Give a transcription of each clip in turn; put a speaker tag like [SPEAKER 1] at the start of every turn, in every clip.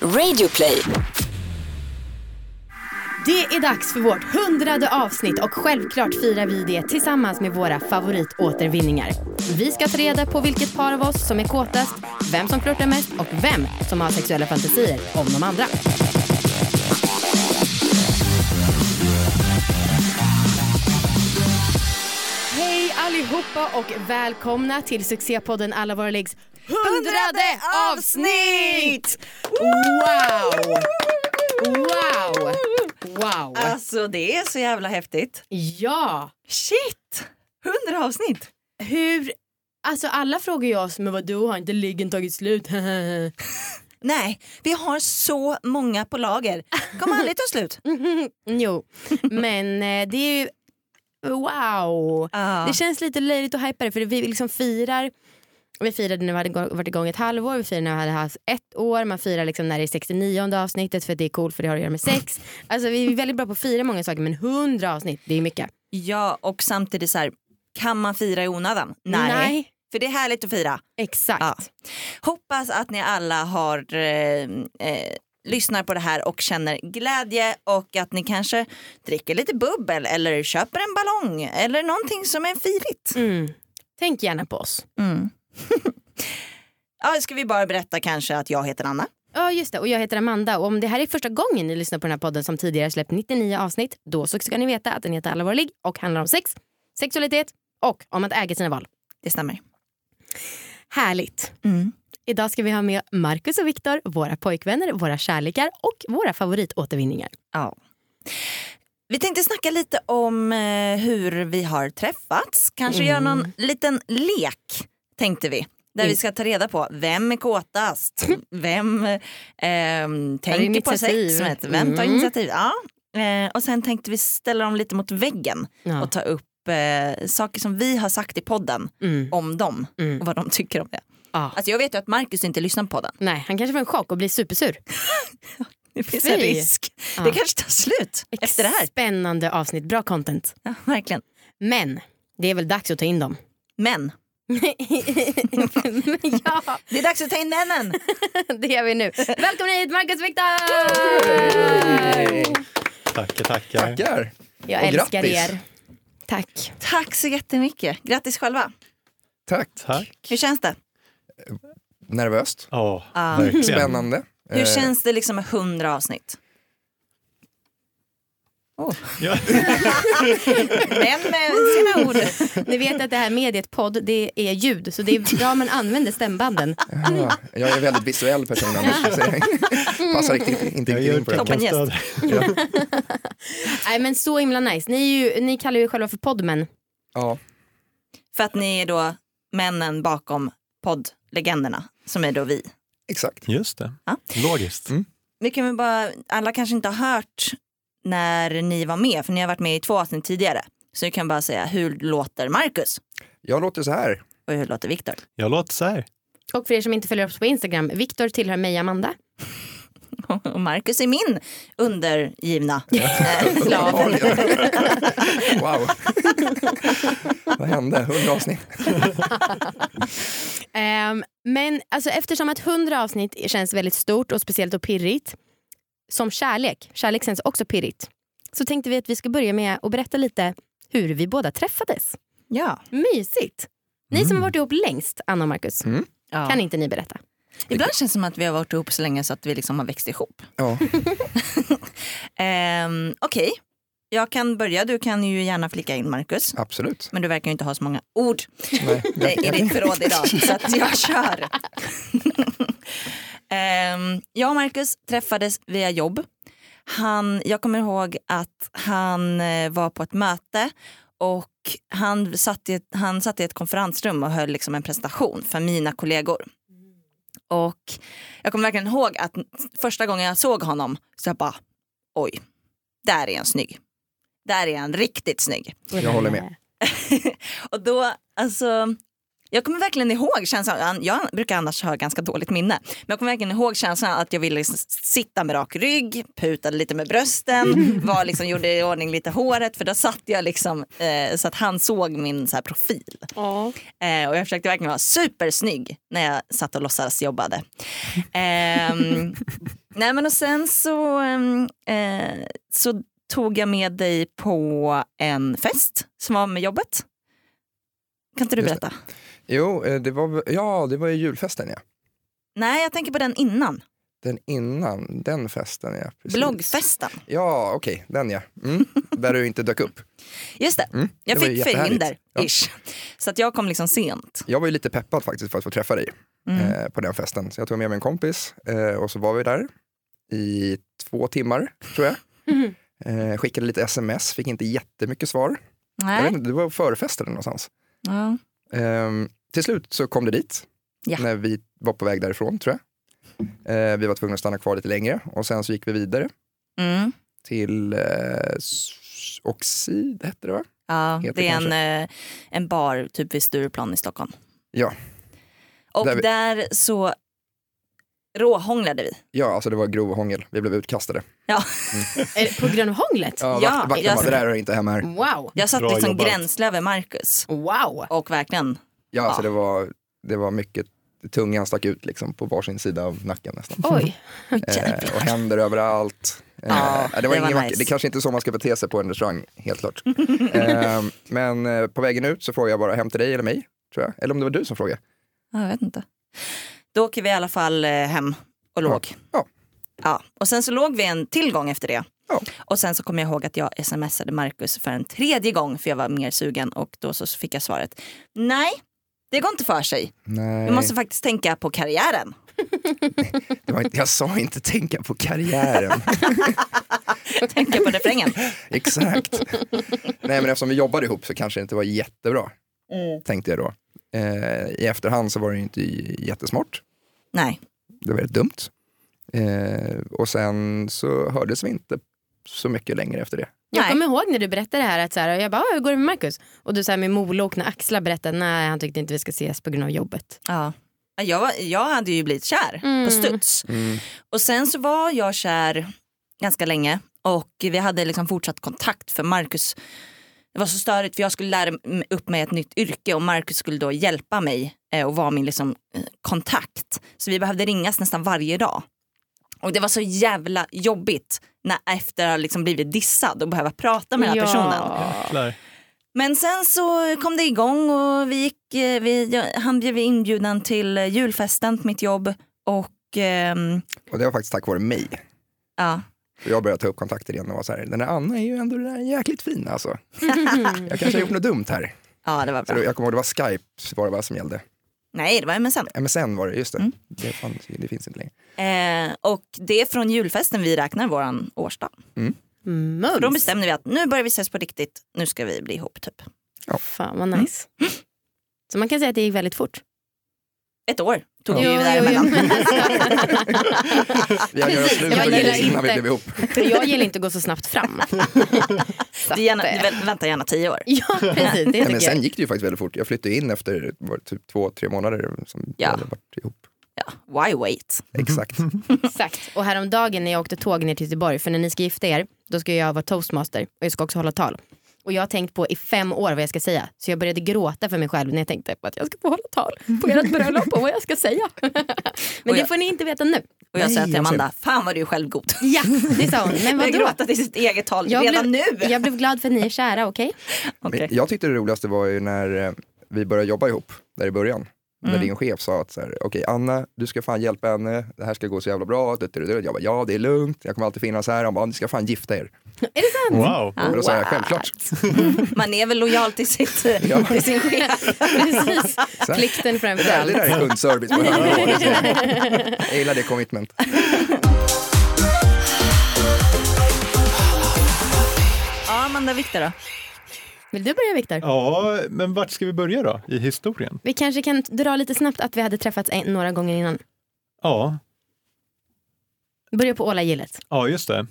[SPEAKER 1] Radioplay.
[SPEAKER 2] Det är dags för vårt hundrade avsnitt och självklart firar vi det tillsammans med våra favoritåtervinningar. Vi ska ta reda på vilket par av oss som är kåtast, vem som flörtar mest och vem som har sexuella fantasier om de andra. Hej allihopa och välkomna till succépodden Alla våra läggs hundrade avsnitt! Wow! Wow! Wow!
[SPEAKER 3] Alltså det är så jävla häftigt.
[SPEAKER 2] Ja!
[SPEAKER 3] Shit! 100 avsnitt!
[SPEAKER 2] Hur... Alltså alla frågar ju oss, men vad du har inte liggen tagit slut?
[SPEAKER 3] Nej, vi har så många på lager. Kommer aldrig ta slut.
[SPEAKER 2] jo, men eh, det är ju... Wow!
[SPEAKER 3] Ja.
[SPEAKER 2] Det känns lite löjligt att hajpa det för vi liksom firar vi firade när vi hade gå- varit igång ett halvår, vi firade när vi hade haft ett år, man firar liksom när det är 69 avsnittet för att det är coolt för det har att göra med sex. Alltså vi är väldigt bra på att fira många saker men 100 avsnitt, det är mycket.
[SPEAKER 3] ja, och samtidigt så här, kan man fira i onödan? Nej. För det är härligt att fira.
[SPEAKER 2] Exakt.
[SPEAKER 3] Ja. Hoppas att ni alla har eh, eh, lyssnar på det här och känner glädje och att ni kanske dricker lite bubbel eller köper en ballong eller någonting som är firigt.
[SPEAKER 2] Mm. Tänk gärna på oss.
[SPEAKER 3] Mm. ja, ska vi bara berätta kanske att jag heter Anna.
[SPEAKER 2] Ja just det, och jag heter Amanda och om det här är första gången ni lyssnar på den här podden som tidigare släppt 99 avsnitt då så ska ni veta att den heter Alla våra ligg och handlar om sex, sexualitet och om att äga sina val.
[SPEAKER 3] Det stämmer.
[SPEAKER 2] Härligt! Idag ska vi ha med Marcus och Viktor, våra pojkvänner, våra kärlekar och våra favoritåtervinningar.
[SPEAKER 3] Ja. Vi tänkte snacka lite om eh, hur vi har träffats. Kanske göra någon liten lek tänkte vi. Där
[SPEAKER 2] Mm.
[SPEAKER 3] vi ska ta reda på vem är kåtast? Vem eh, tänker på
[SPEAKER 2] initiativ.
[SPEAKER 3] sex? Vet, du? vem tar
[SPEAKER 2] Mm.
[SPEAKER 3] initiativ? Ja. Eh, och sen tänkte vi ställa dem lite mot väggen
[SPEAKER 2] Ja.
[SPEAKER 3] och ta upp eh, saker som vi har sagt i podden
[SPEAKER 2] Mm.
[SPEAKER 3] om dem
[SPEAKER 2] Mm.
[SPEAKER 3] och vad de tycker om det.
[SPEAKER 2] Ja.
[SPEAKER 3] Alltså jag vet ju att Marcus inte lyssnar på podden.
[SPEAKER 2] Nej, han kanske får en chock och blir supersur.
[SPEAKER 3] Det finns en
[SPEAKER 2] Fy.
[SPEAKER 3] risk.
[SPEAKER 2] Ja.
[SPEAKER 3] Det kanske tar slut efter det här.
[SPEAKER 2] Spännande avsnitt, bra content.
[SPEAKER 3] Ja, verkligen.
[SPEAKER 2] Men det är väl dags att ta in dem.
[SPEAKER 3] Men
[SPEAKER 2] Men ja,
[SPEAKER 3] Det är dags att ta in männen!
[SPEAKER 2] det gör vi nu. Välkomna hit Marcus och Viktor!
[SPEAKER 4] Tackar, tackar.
[SPEAKER 5] Tackar!
[SPEAKER 2] Jag
[SPEAKER 5] Och
[SPEAKER 2] älskar
[SPEAKER 5] grattis.
[SPEAKER 2] er. Tack.
[SPEAKER 3] Tack så jättemycket. Grattis själva.
[SPEAKER 5] Tack.
[SPEAKER 4] Tack.
[SPEAKER 3] Hur känns det?
[SPEAKER 5] Nervöst,
[SPEAKER 4] Ja,
[SPEAKER 2] Ah.
[SPEAKER 3] Ja.
[SPEAKER 4] verkligen.
[SPEAKER 5] spännande.
[SPEAKER 3] Hur
[SPEAKER 5] Eh,
[SPEAKER 3] känns det liksom med 100 avsnitt?
[SPEAKER 4] Ja.
[SPEAKER 3] Men med sina ord.
[SPEAKER 2] Ni vet att det här mediet podd, det är ljud så det är bra om man använder stämbanden.
[SPEAKER 5] ja, jag är en väldigt visuell person annars. så
[SPEAKER 3] Mm.
[SPEAKER 5] jag Passar riktigt, inte
[SPEAKER 4] Jag
[SPEAKER 5] riktigt
[SPEAKER 4] gör
[SPEAKER 5] in på det.
[SPEAKER 3] Toppen gäst.
[SPEAKER 4] toppenstöd.
[SPEAKER 2] Nej men så himla nice. Ni, är ju, ni kallar ju er själva för poddmän.
[SPEAKER 5] Ja,
[SPEAKER 3] För att ni är då männen bakom poddlegenderna som är då vi.
[SPEAKER 5] exakt.
[SPEAKER 4] Just det.
[SPEAKER 2] Ah.
[SPEAKER 3] Ja.
[SPEAKER 4] Logiskt.
[SPEAKER 3] Vi kan väl bara, alla kanske inte har hört när ni var med, för ni har varit med i två avsnitt tidigare. Så vi kan bara säga, hur låter Marcus?
[SPEAKER 5] Jag låter så här.
[SPEAKER 3] Och hur låter Viktor?
[SPEAKER 4] Jag låter så här.
[SPEAKER 2] Och för er som inte följer oss på Instagram, Viktor tillhör mig Amanda.
[SPEAKER 3] Och Marcus är min undergivna. eh,
[SPEAKER 2] Slav.
[SPEAKER 5] Oj. Wow. Vad hände? 100 avsnitt.
[SPEAKER 2] Ehm, men alltså, eftersom att 100 avsnitt känns väldigt stort och speciellt och pirrigt, som kärlek, kärlek känns också pirrigt, så tänkte vi att vi ska börja med att berätta lite hur vi båda träffades.
[SPEAKER 3] Ja.
[SPEAKER 2] Mysigt! Ni
[SPEAKER 5] Mm.
[SPEAKER 2] som har varit ihop längst, Anna och Marcus,
[SPEAKER 3] ja.
[SPEAKER 2] kan inte ni berätta?
[SPEAKER 3] Ibland känns det som att vi har varit ihop så länge så att vi liksom har växt ihop.
[SPEAKER 5] Ja.
[SPEAKER 3] Ehm, Okej, jag kan börja. Du kan ju gärna flika in Marcus.
[SPEAKER 5] Absolut.
[SPEAKER 3] Men du verkar ju inte ha så många ord
[SPEAKER 5] Nej,
[SPEAKER 3] eh, i ditt förråd idag så att jag kör. Ehm, jag och Marcus träffades via jobb. Han, jag kommer ihåg att han eh, var på ett möte och han satt, i ett, han satt i ett konferensrum och höll liksom en presentation för mina kollegor. Och jag kommer verkligen ihåg att första gången jag såg honom så jag bara oj, där är han snygg. Där är han riktigt snygg.
[SPEAKER 5] Jag håller med.
[SPEAKER 3] Och då, alltså, jag kommer verkligen ihåg känslan, jag brukar annars ha ganska dåligt minne, men jag kommer verkligen ihåg känslan att jag ville liksom sitta med rak rygg, putade lite med brösten, var liksom, gjorde i ordning lite håret för då satt jag liksom eh, så att han såg min så här, profil.
[SPEAKER 2] Ja.
[SPEAKER 3] Eh, och jag försökte verkligen vara supersnygg när jag satt och låtsas jobbade. Ehm, Nej men och sen så, ehm, eh, så tog jag med dig på en fest som var med jobbet. Kan inte du
[SPEAKER 5] Just det.
[SPEAKER 3] berätta?
[SPEAKER 5] Jo, eh, det var, ja, det var ju julfesten ja.
[SPEAKER 3] Nej jag tänker på den innan,
[SPEAKER 5] Den innan, den festen ja. Precis.
[SPEAKER 3] bloggfesten.
[SPEAKER 5] Ja, okej, den ja. Mm. Där du inte dök upp.
[SPEAKER 3] Just det,
[SPEAKER 5] Mm.
[SPEAKER 3] jag
[SPEAKER 5] det var ju
[SPEAKER 3] fick
[SPEAKER 5] jättehärligt.
[SPEAKER 3] förhinder
[SPEAKER 5] Ja.
[SPEAKER 3] ish. Så att jag kom liksom sent.
[SPEAKER 5] Jag var ju lite peppad faktiskt för att få träffa dig
[SPEAKER 3] Mm.
[SPEAKER 5] eh, på den festen. Så jag tog med mig en kompis eh, och så var vi där i två timmar tror jag.
[SPEAKER 2] Mhm.
[SPEAKER 5] Eh, skickade lite sms, fick inte jättemycket svar. Jag vet
[SPEAKER 3] Nej.
[SPEAKER 5] inte, det var förfest eller någonstans.
[SPEAKER 3] Ja.
[SPEAKER 5] Ehm, till slut så kom det dit,
[SPEAKER 3] Ja.
[SPEAKER 5] när vi var på väg därifrån tror jag. Eh, vi var tvungna att stanna kvar lite längre och sen så gick vi vidare
[SPEAKER 3] Mm.
[SPEAKER 5] till eh, S- Oxid, hette det va?
[SPEAKER 3] Ja,
[SPEAKER 5] Heter
[SPEAKER 3] det är en, eh, en bar typ vid Stureplan i Stockholm.
[SPEAKER 5] Ja.
[SPEAKER 3] Och
[SPEAKER 5] Där
[SPEAKER 3] där,
[SPEAKER 5] vi-
[SPEAKER 3] så råhånglade vi.
[SPEAKER 5] Ja, alltså det var grov hångel, vi blev utkastade.
[SPEAKER 3] Ja.
[SPEAKER 2] Är det På grund av hånglet?
[SPEAKER 5] Ja,
[SPEAKER 3] Ja,
[SPEAKER 5] vakt, vakten
[SPEAKER 3] jag-
[SPEAKER 5] bara, det där är inte hemma här.
[SPEAKER 2] Wow.
[SPEAKER 3] Jag satt
[SPEAKER 4] Bra
[SPEAKER 3] liksom
[SPEAKER 4] jobbat.
[SPEAKER 3] gränsle över Marcus
[SPEAKER 2] Wow.
[SPEAKER 3] och verkligen
[SPEAKER 5] Ja, alltså
[SPEAKER 3] Ja.
[SPEAKER 5] det var, det var mycket, tungan stack ut liksom på varsin sida av nacken nästan.
[SPEAKER 2] Oj.
[SPEAKER 5] Eh, och händer överallt. Eh,
[SPEAKER 3] Ja,
[SPEAKER 5] det,
[SPEAKER 3] det
[SPEAKER 5] var
[SPEAKER 3] var
[SPEAKER 5] ingen vacker-
[SPEAKER 3] nice.
[SPEAKER 5] det kanske inte är så man ska bete sig på en restaurang, helt klart. eh, men eh, på vägen ut så frågade jag bara hem till dig eller mig, tror jag. Eller om det var du som frågade.
[SPEAKER 3] Ja, Jag vet inte. Då åker vi i alla fall eh, hem och låg.
[SPEAKER 5] Ja.
[SPEAKER 3] Ja, och sen så låg vi en till gång efter det.
[SPEAKER 5] Ja.
[SPEAKER 3] Och sen så kommer jag ihåg att jag smsade Marcus för en tredje gång för jag var mer sugen och då så fick jag svaret. Nej, det går inte för sig.
[SPEAKER 5] Nej,
[SPEAKER 3] Vi måste faktiskt tänka på karriären.
[SPEAKER 5] det var inte, jag sa inte tänka på karriären.
[SPEAKER 3] Tänka på refrängen.
[SPEAKER 5] Exakt. Nej, men eftersom vi jobbade ihop så kanske det inte var jättebra,
[SPEAKER 3] Mm.
[SPEAKER 5] tänkte jag då. Eh, I efterhand så var det ju inte j- jättesmart.
[SPEAKER 3] Nej,
[SPEAKER 5] Det var rätt dumt. Eh, och sen så hördes vi inte så mycket längre efter det.
[SPEAKER 2] Jag
[SPEAKER 3] Nej.
[SPEAKER 2] kommer ihåg när du berättade det här att så här, jag bara, "Ah, hur går det med Marcus? Och du sa med molok när Axla berättade, nej han tyckte inte vi ska ses på grund av jobbet.
[SPEAKER 3] ja. Jag, var, jag hade ju blivit kär
[SPEAKER 2] Mm.
[SPEAKER 3] på studs. Och sen så var jag kär ganska länge och vi hade liksom fortsatt kontakt för Marcus det var så störigt för jag skulle lära m- upp mig ett nytt yrke och Marcus skulle då hjälpa mig eh, och vara min liksom, eh, kontakt. Så vi behövde ringas nästan varje dag. Och det var så jävla jobbigt när efter att ha liksom blivit dissad och behöva prata med den här personen.
[SPEAKER 4] Jäklar.
[SPEAKER 3] Men sen så kom det igång och vi gick, eh, vi, jag, han blev inbjuden till eh, julfesten på mitt jobb och ehm,
[SPEAKER 5] Och det var faktiskt tack vare mig.
[SPEAKER 3] ja,
[SPEAKER 5] Och jag började ta upp kontakter igen och var så här, den där Anna är ju ändå den där jäkligt fin alltså. Jag kanske har gjort något dumt här.
[SPEAKER 3] ja det var
[SPEAKER 5] Så
[SPEAKER 3] bra.
[SPEAKER 5] då, jag kommer ihåg, det var Skype var det bara som gällde.
[SPEAKER 3] Nej, det var MSN.
[SPEAKER 5] MSN var det, just det.
[SPEAKER 2] Mm.
[SPEAKER 5] Det, fanns, ju- det finns inte längre.
[SPEAKER 3] Eh, och det är från julfesten vi räknar våran årsdag. För då
[SPEAKER 2] Mums.
[SPEAKER 3] bestämde vi att nu börjar vi ses på riktigt, nu ska vi bli ihop typ.
[SPEAKER 2] Fan vad nice.
[SPEAKER 3] Mm.
[SPEAKER 2] Så man kan säga att det gick väldigt fort.
[SPEAKER 3] Ett år tog
[SPEAKER 5] Ja.
[SPEAKER 3] vi ju
[SPEAKER 2] Jo, jo,
[SPEAKER 3] däremellan.
[SPEAKER 2] jo, men alltså,
[SPEAKER 5] Vi hade gjort
[SPEAKER 2] Precis,
[SPEAKER 5] slut
[SPEAKER 2] jag
[SPEAKER 5] och
[SPEAKER 2] gillar
[SPEAKER 5] grejer innan vi
[SPEAKER 2] inte-
[SPEAKER 5] blev ihop.
[SPEAKER 2] för jag gillar inte att gå så snabbt fram. Så
[SPEAKER 3] Du gärna,
[SPEAKER 2] att,
[SPEAKER 3] du
[SPEAKER 2] eh,
[SPEAKER 3] vä- väntar gärna tio år.
[SPEAKER 2] Ja precis, det
[SPEAKER 5] Nej, men
[SPEAKER 2] tycker
[SPEAKER 5] sen
[SPEAKER 2] jag.
[SPEAKER 5] gick det ju faktiskt väldigt fort. Jag flyttade in efter var, det typ två, tre månader som vi
[SPEAKER 3] Ja.
[SPEAKER 5] hade varit ihop.
[SPEAKER 3] Ja. Why wait?
[SPEAKER 5] Exakt.
[SPEAKER 2] Exakt. Och häromdagen när jag åkte tåg ner till Göteborg, för när ni ska gifta er, då ska jag vara toastmaster och jag ska också hålla tal. Och jag har tänkt på i fem år vad jag ska säga, så jag började gråta för mig själv när jag tänkte på att jag ska få hålla tal på ert bröllop och vad jag ska säga. Men
[SPEAKER 3] Och
[SPEAKER 2] det
[SPEAKER 3] jag-
[SPEAKER 2] får ni inte veta nu.
[SPEAKER 3] Och jag
[SPEAKER 5] Nej,
[SPEAKER 3] säger till
[SPEAKER 5] vad synd.
[SPEAKER 3] Amanda, fan vad du är självgod.
[SPEAKER 2] Ja, det sa hon. Men
[SPEAKER 3] Jag
[SPEAKER 2] vadå?
[SPEAKER 3] gråta till sitt eget tal
[SPEAKER 2] Jag
[SPEAKER 3] redan
[SPEAKER 2] blev,
[SPEAKER 3] nu.
[SPEAKER 2] jag blev glad för att ni är kära, okej?
[SPEAKER 3] Okej.
[SPEAKER 5] Men Jag tyckte det roligaste var ju när eh, vi började jobba ihop, där i början.
[SPEAKER 2] Mm.
[SPEAKER 5] När din chef sa att så här, okej Anna, du ska fan hjälpa henne, det här ska gå så jävla bra. Du, du, du. Jag bara, ja det är lugnt, jag kommer alltid finnas här. Han bara, ni ska fan gifta er.
[SPEAKER 2] Är det sant?
[SPEAKER 4] Wow.
[SPEAKER 5] Och då sa jag,
[SPEAKER 2] What?
[SPEAKER 5] självklart.
[SPEAKER 3] Man är väl lojal till, sitt, till sin chef.
[SPEAKER 2] Precis.
[SPEAKER 5] Så här.
[SPEAKER 2] Plikten
[SPEAKER 5] Det
[SPEAKER 2] framför
[SPEAKER 5] där, det
[SPEAKER 2] allt.
[SPEAKER 5] där är kundservice på hög nivå, liksom. Jag gillar det commitment.
[SPEAKER 2] Mm.
[SPEAKER 3] Ja, Amanda Viktor då?
[SPEAKER 2] Vill du börja Viktor?
[SPEAKER 4] Ja, men vart ska vi börja då i historien?
[SPEAKER 2] Vi kanske kan dra lite snabbt att vi hade träffats en, några gånger innan.
[SPEAKER 4] Ja,
[SPEAKER 2] Börja på Ålagillet.
[SPEAKER 4] ja just det.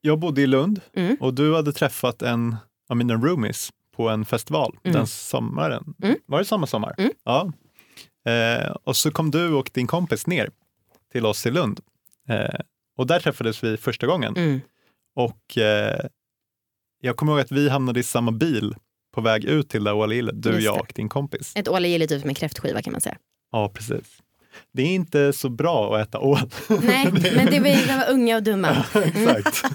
[SPEAKER 4] Jag bodde i Lund
[SPEAKER 2] Mm.
[SPEAKER 4] och du hade träffat en av mina roomies på en festival
[SPEAKER 2] Mm.
[SPEAKER 4] den sommaren.
[SPEAKER 2] Mm.
[SPEAKER 4] Var det samma sommar?
[SPEAKER 2] Mm.
[SPEAKER 4] Ja. Eh, och så kom du och din kompis ner till oss i Lund. Eh, och där träffades vi första gången.
[SPEAKER 2] Mm.
[SPEAKER 4] Och eh, jag kommer ihåg att vi hamnade i samma bil på väg ut till det här Ålagillet, du,
[SPEAKER 2] Just
[SPEAKER 4] jag
[SPEAKER 2] det.
[SPEAKER 4] och din kompis.
[SPEAKER 2] Ett Ålagille är typ som en kräftskiva kan man säga.
[SPEAKER 4] Ja, precis. det är inte så bra att äta ål.
[SPEAKER 2] Nej, men det var, vi var unga och dumma.
[SPEAKER 4] Exakt.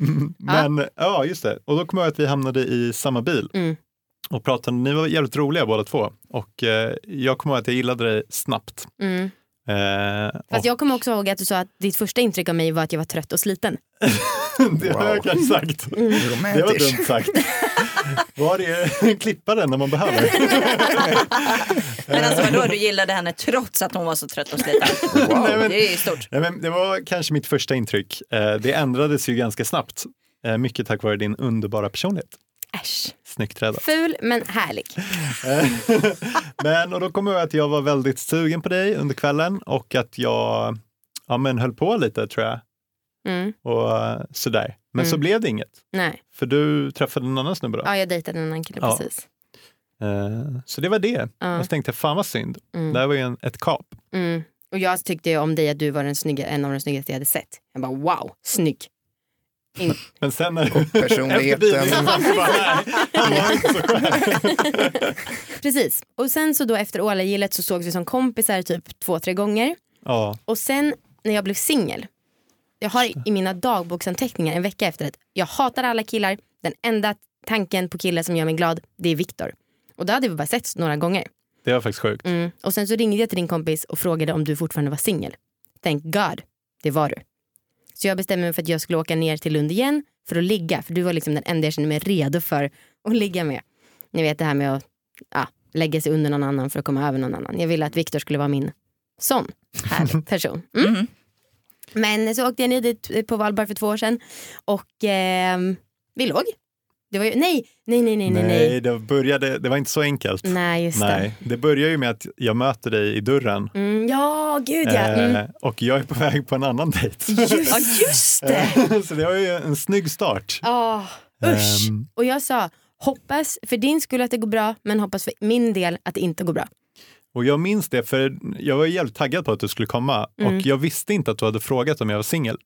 [SPEAKER 4] Mm, men ja, just det. Och då kommer jag ihåg att vi hamnade i samma bil
[SPEAKER 2] Mm.
[SPEAKER 4] och pratade. Ni var jävligt roliga båda två och eh, jag kommer ihåg att jag gillade dig snabbt.
[SPEAKER 2] Mm.
[SPEAKER 4] Eh,
[SPEAKER 2] Fast jag kommer också ihåg att du sa att ditt första intryck av mig var att jag var trött och sliten.
[SPEAKER 4] det har
[SPEAKER 5] Wow.
[SPEAKER 4] jag kanske sagt.
[SPEAKER 2] Mm.
[SPEAKER 4] Det var
[SPEAKER 5] Romantiskt.
[SPEAKER 4] dumt sagt. Var det klippa den när man behöver?
[SPEAKER 3] Men alltså vadå, du gillade henne trots att hon var så trött och sliten?
[SPEAKER 5] Wow.
[SPEAKER 4] Nej, men-
[SPEAKER 3] Det är stort.
[SPEAKER 4] Nej, men det var kanske mitt första intryck. Eh, det ändrades ju ganska snabbt. Eh, mycket tack vare din underbara personlighet.
[SPEAKER 2] Äsch.
[SPEAKER 4] Snyggt räddat.
[SPEAKER 2] Ful men härlig.
[SPEAKER 4] Eh, Men och då kommer jag ihåg att jag var väldigt sugen på dig under kvällen och att jag ja, men höll på lite tror jag.
[SPEAKER 2] Mm.
[SPEAKER 4] Och eh, sådär. Men så
[SPEAKER 2] Mm.
[SPEAKER 4] blev det inget.
[SPEAKER 2] Nej,
[SPEAKER 4] För du träffade en annan snubbe då.
[SPEAKER 2] ja, jag dejtade en annan kille
[SPEAKER 4] Ja.
[SPEAKER 2] precis.
[SPEAKER 4] Eh, så det var det.
[SPEAKER 2] Ja.
[SPEAKER 4] Och så tänkte jag, fan vad synd.
[SPEAKER 2] Mm.
[SPEAKER 4] Det här var ju en, ett kap.
[SPEAKER 2] Mm. Och jag tyckte ju om dig att du var den snygga, en av de snyggaste jag hade sett. Jag bara wow, snygg. In-
[SPEAKER 4] Men sen när du... Efter bilen,
[SPEAKER 5] Personligheten.
[SPEAKER 4] så bara, nej.
[SPEAKER 2] Precis. Och sen så då efter Ålagillet så sågs vi som kompisar typ två, tre gånger.
[SPEAKER 4] Ja,
[SPEAKER 2] Och sen när jag blev singel, jag har i mina dagboksanteckningar en vecka efter att jag hatar alla killar, den enda tanken på killar som gör mig glad det är Viktor. Och då hade vi bara setts några gånger.
[SPEAKER 4] det var faktiskt sjukt.
[SPEAKER 2] Mm. Och sen så ringde jag till din kompis och frågade om du fortfarande var singel. Thank God, det var du. Så jag bestämde mig för att jag skulle åka ner till Lund igen för att ligga. För du var liksom den enda jag kände mig redo för att ligga med. Ni vet det här med att ja, lägga sig under någon annan för att komma över någon annan. Jag ville att Viktor skulle vara min sån person. Mm.
[SPEAKER 3] Mm.
[SPEAKER 2] Men så åkte jag ner dit eh, på valbar för två år sedan och ehm, vi låg. Det var ju, nej, nej, nej, nej, nej, nej.
[SPEAKER 4] det, började, det var inte så enkelt.
[SPEAKER 2] Nej, just
[SPEAKER 4] Nej, det börjar ju med att jag möter dig i dörren
[SPEAKER 2] det. Mm, ja, gud ja. Mm.
[SPEAKER 4] eh, och jag är på väg på en annan dejt.
[SPEAKER 3] Ja just det!
[SPEAKER 4] Så det var ju en snygg start.
[SPEAKER 2] Ah, usch.
[SPEAKER 4] Ehm.
[SPEAKER 2] Och jag sa hoppas för din skull att det går bra men hoppas för min del att det inte går bra.
[SPEAKER 4] Och jag minns det för jag var ju jävligt taggad på att du skulle komma och jag visste inte att du hade frågat om jag var singel.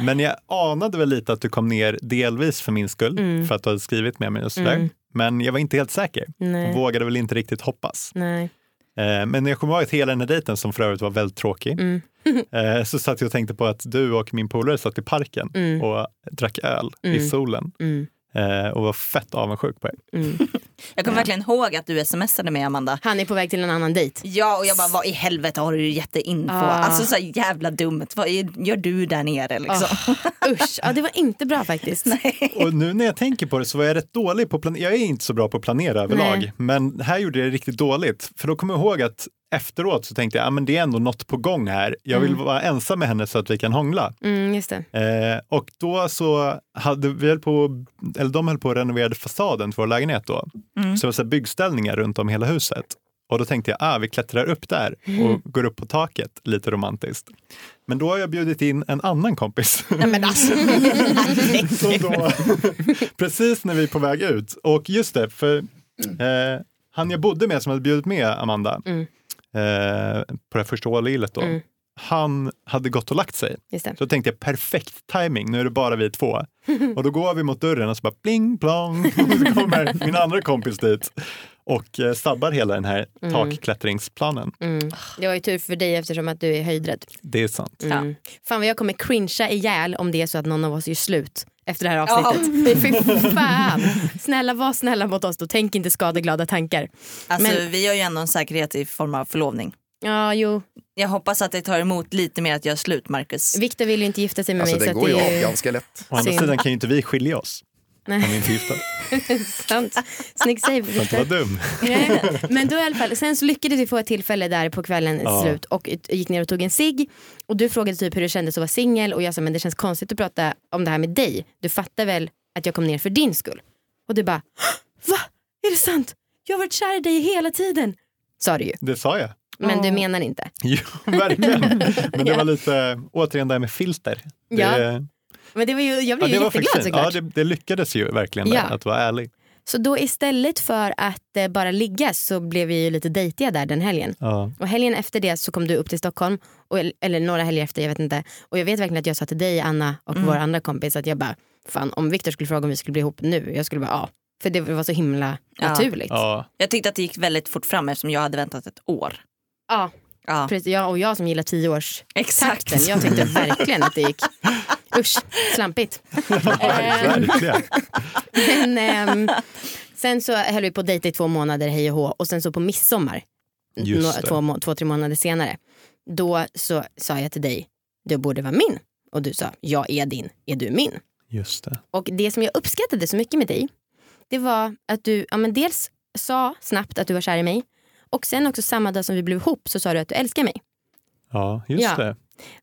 [SPEAKER 4] Men jag anade väl lite att du kom ner delvis för min skull för att du hade skrivit med mig och sådär. Men jag var inte helt säker
[SPEAKER 2] Nej.
[SPEAKER 4] och vågade väl inte riktigt hoppas.
[SPEAKER 2] Nej.
[SPEAKER 4] Eh, Men jag kommer ihåg att hela den här dejten som för övrigt var väldigt tråkig
[SPEAKER 2] Mm,
[SPEAKER 4] eh, så satt jag och tänkte på att du och min polare satt i parken och drack öl i solen
[SPEAKER 2] mm,
[SPEAKER 4] eh, och var fett avundsjuk på er.
[SPEAKER 3] Jag kommer verkligen ihåg att du smsade med Amanda.
[SPEAKER 2] Han är på väg till en annan dejt.
[SPEAKER 3] Ja och jag bara vad i helvete har du gett dig in på?
[SPEAKER 2] Ah.
[SPEAKER 3] Alltså så här jävla dumt, vad är- gör du där nere liksom?
[SPEAKER 2] Ah. Usch, ja, det var inte bra faktiskt.
[SPEAKER 4] Och nu när jag tänker på det så var jag rätt dålig på att planera. Jag är inte så bra på att planera överlag,
[SPEAKER 2] Nej.
[SPEAKER 4] men här gjorde jag det riktigt dåligt. För då kommer jag ihåg att efteråt så tänkte jag, ah, men det är ändå något på gång här. Jag vill vara ensam med henne så att vi kan hångla.
[SPEAKER 2] Mm, just det.
[SPEAKER 4] Eh, och då så hade vi höll på, eller de höll på att renovera fasaden till vår lägenhet då.
[SPEAKER 2] Mm.
[SPEAKER 4] Så det var så här byggställningar runt om hela huset. Och då tänkte jag, ah, vi klättrar upp där
[SPEAKER 2] Mm.
[SPEAKER 4] och går upp på taket, lite romantiskt. Men då har jag bjudit in en annan kompis.
[SPEAKER 3] Men alltså,
[SPEAKER 4] Så då, precis när vi är på väg ut. Och just det, för eh, han jag bodde med som hade bjudit med Amanda
[SPEAKER 2] Mm.
[SPEAKER 4] eh, på det här första ålillet då,
[SPEAKER 2] Mm.
[SPEAKER 4] han hade gått och lagt sig.
[SPEAKER 2] Just det.
[SPEAKER 4] Så tänkte jag perfekt timing, nu är det bara vi två. Och då går vi mot dörren och så bara pling plong, och så kommer min andra kompis dit och eh, sabbar hela den här takklättringsplanen.
[SPEAKER 2] Mm. Det var ju tur för dig eftersom att du är höjdrädd.
[SPEAKER 4] Det är sant.
[SPEAKER 2] Mm. Fan vad jag kommer cringea ihjäl om det är så att någon av oss gör slut efter det här
[SPEAKER 3] Ja.
[SPEAKER 2] avsnittet. Fy fan! Snälla var snälla mot oss då, tänk inte skadeglada tankar.
[SPEAKER 3] alltså
[SPEAKER 2] Men-
[SPEAKER 3] vi har ju ändå en säkerhet i form av förlovning.
[SPEAKER 2] Ja jo,
[SPEAKER 3] Jag hoppas att det tar emot lite mer att göra slut Marcus.
[SPEAKER 2] Viktor vill ju inte gifta sig med
[SPEAKER 5] Alltså
[SPEAKER 2] mig.
[SPEAKER 5] det
[SPEAKER 2] så
[SPEAKER 5] går ju
[SPEAKER 2] att
[SPEAKER 5] av
[SPEAKER 2] det är
[SPEAKER 5] ganska lätt.
[SPEAKER 4] Å andra
[SPEAKER 2] Synd.
[SPEAKER 4] sidan kan ju inte vi skilja oss.
[SPEAKER 2] Nej.
[SPEAKER 4] Nej. Om vi inte är gifta. Så
[SPEAKER 2] sant. Snygg save
[SPEAKER 4] att det
[SPEAKER 2] Viktor.
[SPEAKER 4] var dum.
[SPEAKER 2] Nej, Men då i alla fall, sen så lyckades vi få ett tillfälle där på kvällen
[SPEAKER 4] Ja.
[SPEAKER 2] slut och ut- gick ner och tog en cigg och du frågade typ hur det kändes att vara singel och jag sa men det känns konstigt att prata om det här med dig. Du fattar väl att jag kom ner för din skull? Och du bara va? Är det sant? Jag har varit kär i dig hela tiden. Sa du ju,
[SPEAKER 4] Det sa jag.
[SPEAKER 2] men du
[SPEAKER 3] Ja.
[SPEAKER 2] menar inte.
[SPEAKER 4] Jo, verkligen. Men det var lite, återigen det här med filter. Det,
[SPEAKER 2] Ja, Men det var ju, jag
[SPEAKER 4] ja,
[SPEAKER 2] blev
[SPEAKER 4] det
[SPEAKER 2] ju
[SPEAKER 4] var
[SPEAKER 2] jätteglad
[SPEAKER 4] faktiskt fint. Ja,
[SPEAKER 2] såklart.
[SPEAKER 4] det, det lyckades ju verkligen där,
[SPEAKER 2] Ja.
[SPEAKER 4] att vara ärlig.
[SPEAKER 2] Så då istället för att eh, bara ligga så blev vi ju lite dejtiga där den helgen.
[SPEAKER 4] Ja.
[SPEAKER 2] Och helgen efter det så kom du upp till Stockholm, och, eller några helger efter, jag vet inte. Och jag vet verkligen att jag sa till dig, Anna och vår andra kompis att jag bara, fan om Viktor skulle fråga om vi skulle bli ihop nu, jag skulle bara ja. För det var så himla
[SPEAKER 3] Ja.
[SPEAKER 2] naturligt.
[SPEAKER 4] Ja.
[SPEAKER 3] Jag tyckte att det gick väldigt fort fram eftersom jag hade väntat ett år.
[SPEAKER 2] Ja,
[SPEAKER 3] Ja,
[SPEAKER 2] precis. Jag, och jag som gillar tioårstakten.
[SPEAKER 3] exakt.
[SPEAKER 2] Jag tyckte verkligen att det gick, usch, slampigt. Ehm,
[SPEAKER 4] Verkligen.
[SPEAKER 2] Men, ehm, sen så höll vi på att dejta i två månader hej och hå och sen så på midsommar,
[SPEAKER 4] Just
[SPEAKER 2] nå-
[SPEAKER 4] det.
[SPEAKER 2] två, må- två, tre månader senare, då så sa jag till dig, du borde vara min. Och du sa, jag är din, är du min?
[SPEAKER 4] Just det.
[SPEAKER 2] Och det som jag uppskattade så mycket med dig, det var att du ja, men dels sa snabbt att du var kär i mig och sen också samma dag som vi blev ihop så sa du att du älskar mig.
[SPEAKER 4] Ja, just
[SPEAKER 2] Ja.
[SPEAKER 4] det.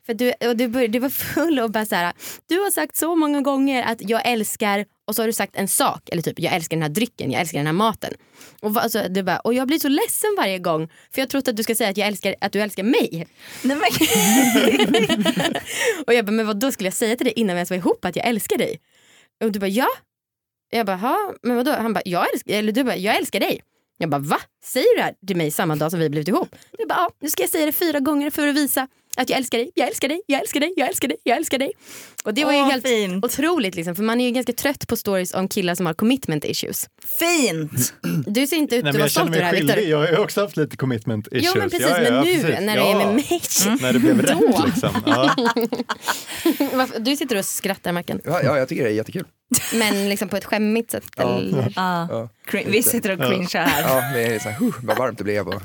[SPEAKER 2] För du, och du, började, du var full och bara så här, du har sagt så många gånger att jag älskar och så har du sagt en sak, eller typ jag älskar den här drycken, jag älskar den här maten. Och, va- alltså, du bara, och jag blir så ledsen varje gång för jag trodde att du ska säga att, jag älskar, att du älskar mig.
[SPEAKER 3] Nej, men,
[SPEAKER 2] Och jag bara, men vad då skulle jag säga till dig innan vi ens var ihop att jag älskar dig? Och du bara, ja. Jag bara, ha, men vadå? Han bara, jag älskar, eller du bara, jag älskar dig. Jag bara, va? Säger du det här till mig samma dag som vi blivit ihop? Du bara, ja, nu ska jag säga det fyra gånger för att visa att jag älskar dig, jag älskar dig, jag älskar dig, jag älskar dig, jag älskar dig. Och det var ju
[SPEAKER 3] Åh,
[SPEAKER 2] helt
[SPEAKER 3] fint.
[SPEAKER 2] otroligt liksom, för man är ju ganska trött på stories om killar som har commitment issues.
[SPEAKER 3] fint!
[SPEAKER 2] Du ser inte ut
[SPEAKER 4] Nej,
[SPEAKER 2] att
[SPEAKER 4] men
[SPEAKER 2] vara
[SPEAKER 4] jag känner
[SPEAKER 2] stolt över det
[SPEAKER 4] mig
[SPEAKER 2] här Viktor.
[SPEAKER 4] skyldig. Jag har ju också haft lite commitment issues.
[SPEAKER 2] Jo men precis,
[SPEAKER 4] Ja, ja,
[SPEAKER 2] men
[SPEAKER 4] ja,
[SPEAKER 2] nu
[SPEAKER 4] precis.
[SPEAKER 2] när
[SPEAKER 4] ja.
[SPEAKER 2] det är med mig.
[SPEAKER 4] När det blev
[SPEAKER 2] Då.
[SPEAKER 4] rätt liksom. Ja.
[SPEAKER 3] Mm.
[SPEAKER 2] Varför- Du sitter och skrattar Mackan,
[SPEAKER 5] Ja, ja, jag tycker det är jättekul.
[SPEAKER 2] men liksom på ett skämmigt sätt.
[SPEAKER 5] Ja.
[SPEAKER 2] Eller?
[SPEAKER 3] Ja.
[SPEAKER 5] Ja.
[SPEAKER 3] Cring- Vi sitter och cringear här.
[SPEAKER 5] Ja, det är så här, huh, vad varmt det blev. Och,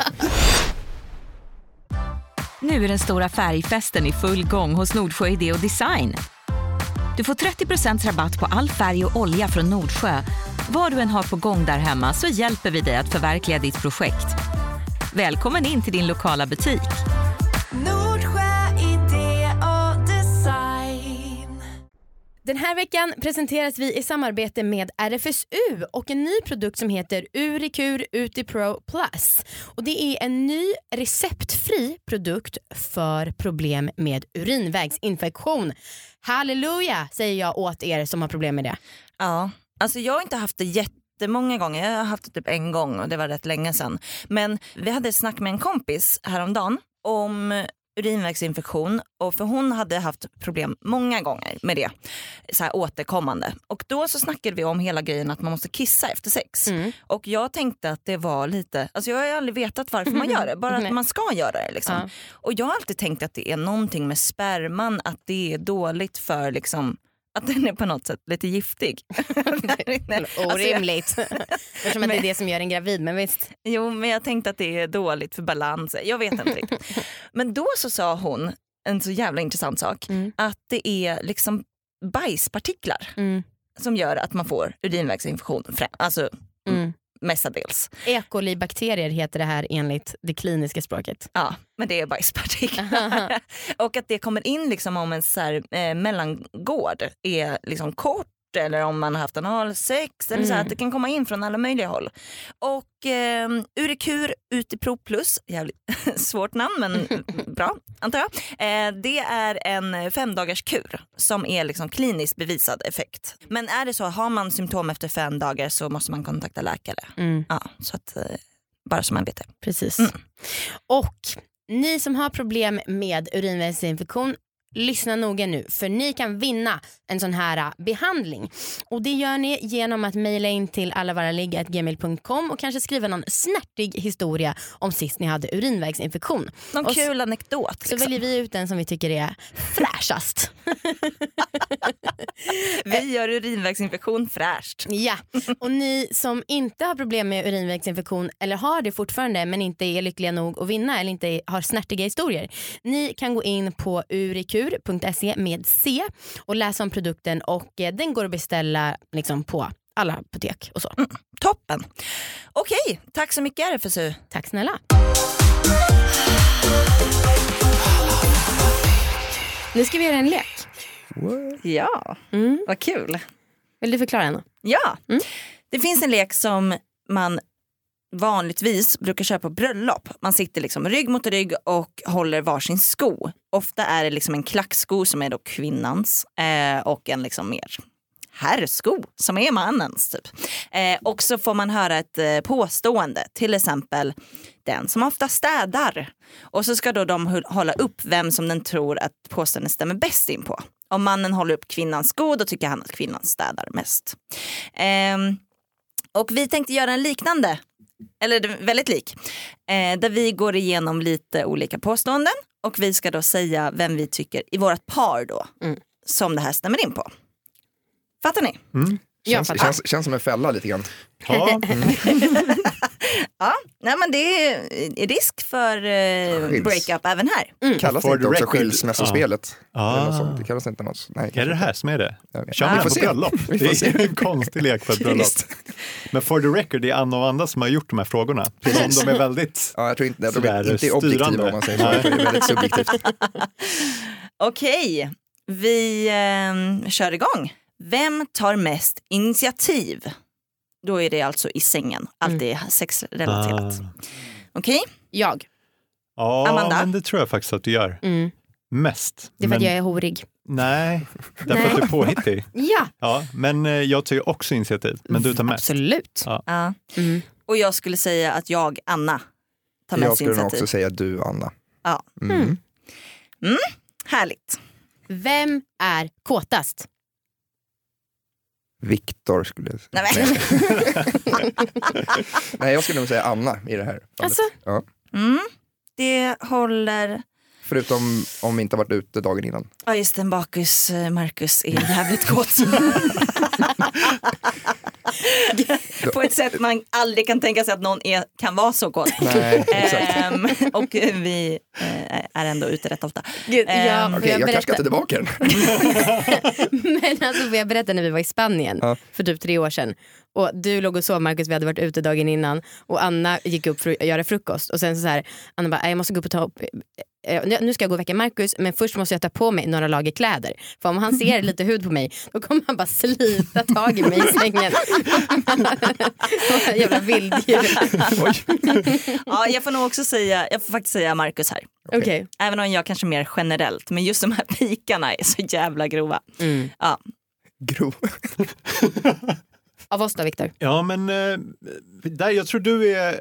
[SPEAKER 1] Nu är den stora färgfesten i full gång hos Nordsjö Idé och Design. Du får 30 rabatt på all färg och olja från Nordsjö. Vad du än har på gång där hemma så hjälper vi dig att förverkliga ditt projekt. Välkommen in till din lokala butik.
[SPEAKER 6] Nordsjö idé och design.
[SPEAKER 2] Den här veckan presenteras vi i samarbete med RFSU och en ny produkt som heter Urikur Utipro Plus. Och det är en ny receptfri produkt för problem med urinvägsinfektion. Halleluja säger jag åt er som har problem med det.
[SPEAKER 3] Ja. Alltså jag har inte haft det jättemånga gånger. Jag har haft det typ en gång och det var rätt länge sedan. Men vi hade ett snack med en kompis häromdagen om urinvägsinfektion och för hon hade haft problem många gånger med det. Så här återkommande. Och då så snackade vi om hela grejen att man måste kissa efter sex.
[SPEAKER 2] Mm.
[SPEAKER 3] Och jag tänkte att det var lite, alltså jag har ju aldrig vetat varför man gör det, bara att
[SPEAKER 2] Nej.
[SPEAKER 3] man ska göra det. Liksom.
[SPEAKER 2] Ja.
[SPEAKER 3] Och jag har alltid tänkt att det är någonting med sperman, att det är dåligt för liksom, att den är på något sätt lite giftig. Där inne. Alltså, jag-
[SPEAKER 2] Orimligt. Eftersom att det är det som gör en gravid men visst.
[SPEAKER 3] Jo, men jag tänkte att det är dåligt för balansen. Jag vet inte riktigt. Men då så sa hon en så jävla intressant sak.
[SPEAKER 2] Mm.
[SPEAKER 3] Att det är liksom bajspartiklar
[SPEAKER 2] Mm.
[SPEAKER 3] som gör att man får urinvägsinfektion. frä- Alltså mestadels.
[SPEAKER 2] E. coli-bakterier Mm. heter det här enligt det kliniska språket.
[SPEAKER 3] Ja, men det är bajspartiklar. och att det kommer in liksom om en så här, eh, mellangård är liksom kort eller om man har haft analsex. Eller så här,
[SPEAKER 2] Mm.
[SPEAKER 3] att det kan komma in från alla möjliga håll. Och eh, Urekur Utipro Plus, jävligt svårt namn men bra antar jag. Eh, det är en femdagars kur som är liksom kliniskt bevisad effekt. Men är det så, har man symptom efter fem dagar så måste man kontakta läkare.
[SPEAKER 2] Mm.
[SPEAKER 3] Ja, så att, eh, bara så man vet det.
[SPEAKER 2] Precis.
[SPEAKER 3] Mm.
[SPEAKER 2] Och ni som har problem med urinvägsinfektion, lyssna noga nu för ni kan vinna en sån här eh, behandling. Och det gör ni genom att mejla in till allavaraligg.gmail.com och kanske skriva någon snärtig historia om sist ni hade urinvägsinfektion.
[SPEAKER 3] Någon
[SPEAKER 2] Och så-
[SPEAKER 3] kul anekdot.
[SPEAKER 2] Så
[SPEAKER 3] liksom.
[SPEAKER 2] väljer vi ut den som vi tycker är fräschast.
[SPEAKER 3] Vi gör urinvägsinfektion fräscht.
[SPEAKER 2] Ja, och ni som inte har problem med urinvägsinfektion eller har det fortfarande men inte är lyckliga nog att vinna eller inte har snärtiga historier. Ni kan gå in på urikur.se med C och läsa om produkten och eh, den går att beställa liksom på alla apotek och så.
[SPEAKER 3] Toppen. Okej, tack så mycket RFSU.
[SPEAKER 2] Tack snälla. Nu ska vi göra en lek.
[SPEAKER 5] what?
[SPEAKER 3] Ja,
[SPEAKER 2] Mm.
[SPEAKER 3] vad kul. Mm.
[SPEAKER 2] Vill du förklara Anna?
[SPEAKER 3] Ja, det finns en lek som man vanligtvis brukar köra på bröllop. Man sitter liksom rygg mot rygg och håller varsin sko. Ofta är det liksom en klacksko som är då kvinnans eh, och en liksom mer herrsko som är mannens. Typ. Eh, och så får man höra ett eh, påstående, till exempel den som ofta städar. Och så ska då de hu- hålla upp vem som den tror att påståendet stämmer bäst in på. Om mannen håller upp kvinnans sko då tycker han att kvinnan städar mest. Ehm, och vi tänkte göra en liknande eller den är väldigt lik, eh, där vi går igenom lite olika påståenden och vi ska då säga vem vi tycker i vårt par då
[SPEAKER 2] Mm.
[SPEAKER 3] som det här stämmer in på. Fattar ni?
[SPEAKER 4] Mm.
[SPEAKER 2] Jag
[SPEAKER 5] Känns,
[SPEAKER 2] fattar.
[SPEAKER 5] känns, känns som en fälla lite grann.
[SPEAKER 4] Ja, mm.
[SPEAKER 3] Ja, nej men det är risk för eh,
[SPEAKER 5] Skiljs.
[SPEAKER 3] breakup även här.
[SPEAKER 2] Mm.
[SPEAKER 5] Kallas
[SPEAKER 4] For
[SPEAKER 5] det inte
[SPEAKER 4] the
[SPEAKER 5] också
[SPEAKER 4] record.
[SPEAKER 5] skilsmässospelet? Eller något
[SPEAKER 4] ah.
[SPEAKER 5] sånt. Det kallas inte något sånt. Nej.
[SPEAKER 4] Är det det här som är det?
[SPEAKER 5] Jag vet.
[SPEAKER 4] Kör man
[SPEAKER 5] Vi
[SPEAKER 4] på
[SPEAKER 5] får se.
[SPEAKER 4] bröllop?
[SPEAKER 5] Vi får
[SPEAKER 4] Det
[SPEAKER 5] se.
[SPEAKER 4] är en konstig lek för ett bröllop.
[SPEAKER 5] Just.
[SPEAKER 4] Men for the record, det är Anna och Anna som har gjort de här frågorna. Så om de är väldigt...
[SPEAKER 5] Ja, jag tror inte, jag tror
[SPEAKER 4] Sådär
[SPEAKER 5] inte inte är objektiva
[SPEAKER 4] styrande.
[SPEAKER 5] om man säger så. Jag tror det är väldigt subjektivt.
[SPEAKER 3] Okej, vi eh, kör igång. Vem tar mest initiativ? Då är det alltså i sängen, alltid sexrelaterat.
[SPEAKER 4] Ah.
[SPEAKER 3] Okej?
[SPEAKER 2] Jag.
[SPEAKER 4] Ja,
[SPEAKER 3] Amanda?
[SPEAKER 4] men det tror jag faktiskt att du gör.
[SPEAKER 2] Mm.
[SPEAKER 4] Mest.
[SPEAKER 2] Det är för
[SPEAKER 4] men,
[SPEAKER 2] att jag är horig.
[SPEAKER 4] Nej, därför
[SPEAKER 2] Nej.
[SPEAKER 4] att du är påhittig.
[SPEAKER 2] Ja,
[SPEAKER 4] Ja, men eh, jag tar ju också initiativ, men du tar
[SPEAKER 2] Mm,
[SPEAKER 4] mest.
[SPEAKER 2] absolut.
[SPEAKER 3] Ja.
[SPEAKER 2] Mm.
[SPEAKER 3] Och jag skulle säga att jag, Anna, tar
[SPEAKER 5] Jag
[SPEAKER 3] mest
[SPEAKER 5] skulle nog
[SPEAKER 3] initiativ.
[SPEAKER 5] också säga du, Anna.
[SPEAKER 3] Ja.
[SPEAKER 5] Mm.
[SPEAKER 3] Härligt.
[SPEAKER 2] Vem är kåtast?
[SPEAKER 5] Viktor skulle jag säga.
[SPEAKER 3] Nej, men.
[SPEAKER 5] Nej, jag skulle nog säga Anna i det här fallet.
[SPEAKER 2] Alltså?
[SPEAKER 5] Ja.
[SPEAKER 3] Mm. Det håller...
[SPEAKER 5] Förutom om vi inte har varit ute dagen innan.
[SPEAKER 3] Ja just det, Bakus eh, Marcus är jävligt kåt. På ett sätt man aldrig kan tänka sig att någon är, kan vara så kåt.
[SPEAKER 5] Nej, exakt.
[SPEAKER 3] Ehm, och vi eh, är ändå ute rätt ofta.
[SPEAKER 2] ja,
[SPEAKER 3] Ehm,
[SPEAKER 2] får
[SPEAKER 5] Okej, jag,
[SPEAKER 2] jag
[SPEAKER 5] kanske ska
[SPEAKER 2] berätta?
[SPEAKER 5] ta tillbaka den.
[SPEAKER 2] Men alltså får jag berätta när vi var i Spanien
[SPEAKER 5] Ja.
[SPEAKER 2] för typ tre år sedan. Och du låg och sov Marcus, vi hade varit ute dagen innan och Anna gick upp för att göra frukost och sen så här, Anna bara, "Nej, jag måste gå upp och ta upp eh, nu ska jag gå och väcka Marcus men först måste jag ta på mig några lager kläder. För om han ser lite hud på mig då kommer han bara slita tag i mig i sängen. Jävla vilddjur.
[SPEAKER 3] Ja, jag får nog också säga, jag får faktiskt säga Marcus här.
[SPEAKER 2] Okej.
[SPEAKER 3] Även om jag kanske mer generellt, men just de här pikarna är så jävla grova.
[SPEAKER 2] Mm.
[SPEAKER 3] Ja.
[SPEAKER 5] Grov.
[SPEAKER 2] Av oss då Viktor?
[SPEAKER 4] Ja, men eh, där, jag tror du är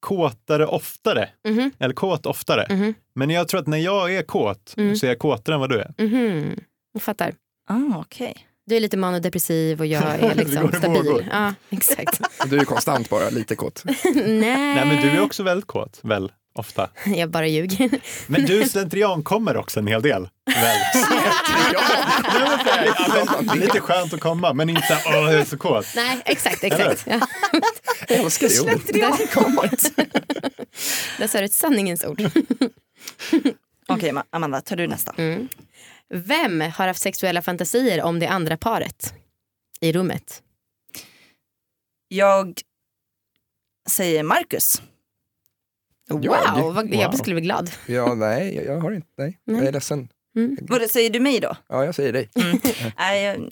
[SPEAKER 4] kåtare oftare,
[SPEAKER 2] Mhm.
[SPEAKER 4] eller kåt oftare.
[SPEAKER 2] Mhm.
[SPEAKER 4] Men jag tror att när jag är kåt
[SPEAKER 2] Mm.
[SPEAKER 4] så är jag kåtare än vad du är.
[SPEAKER 2] Mhm. Jag fattar.
[SPEAKER 3] Ah, okej.
[SPEAKER 2] Du är lite manodepressiv och jag är
[SPEAKER 4] Det
[SPEAKER 2] liksom
[SPEAKER 4] går i vågor.
[SPEAKER 2] stabil. Ja, exakt.
[SPEAKER 5] Du är ju konstant bara, lite kåt.
[SPEAKER 2] Nej.
[SPEAKER 4] Nej, men du är också väldigt kåt, väl? Ofta.
[SPEAKER 2] Jag bara ljuger.
[SPEAKER 4] Men du slentrian kommer också en hel del. Väl? Nej, men för- ja, men Lite skönt att komma, men inte åh, jag är så kåt.
[SPEAKER 2] Nej, exakt, exakt. Ja.
[SPEAKER 5] Jag älskar det ordet.
[SPEAKER 2] Där sa du ett sanningens ord.
[SPEAKER 4] Mm.
[SPEAKER 3] Okej, Ma- Amanda, tar du nästa?
[SPEAKER 2] Mm. Vem har haft sexuella fantasier om det andra paret i rummet?
[SPEAKER 3] Jag säger Marcus.
[SPEAKER 2] Wow,
[SPEAKER 5] Jag?
[SPEAKER 2] vad,
[SPEAKER 4] Wow.
[SPEAKER 2] jag skulle bli glad.
[SPEAKER 5] Ja, nej, jag, jag har inte, nej.
[SPEAKER 2] Nej.
[SPEAKER 5] Jag är ledsen.
[SPEAKER 3] Vad säger du mig då?
[SPEAKER 5] Ja, jag säger dig.
[SPEAKER 3] Nej, jag-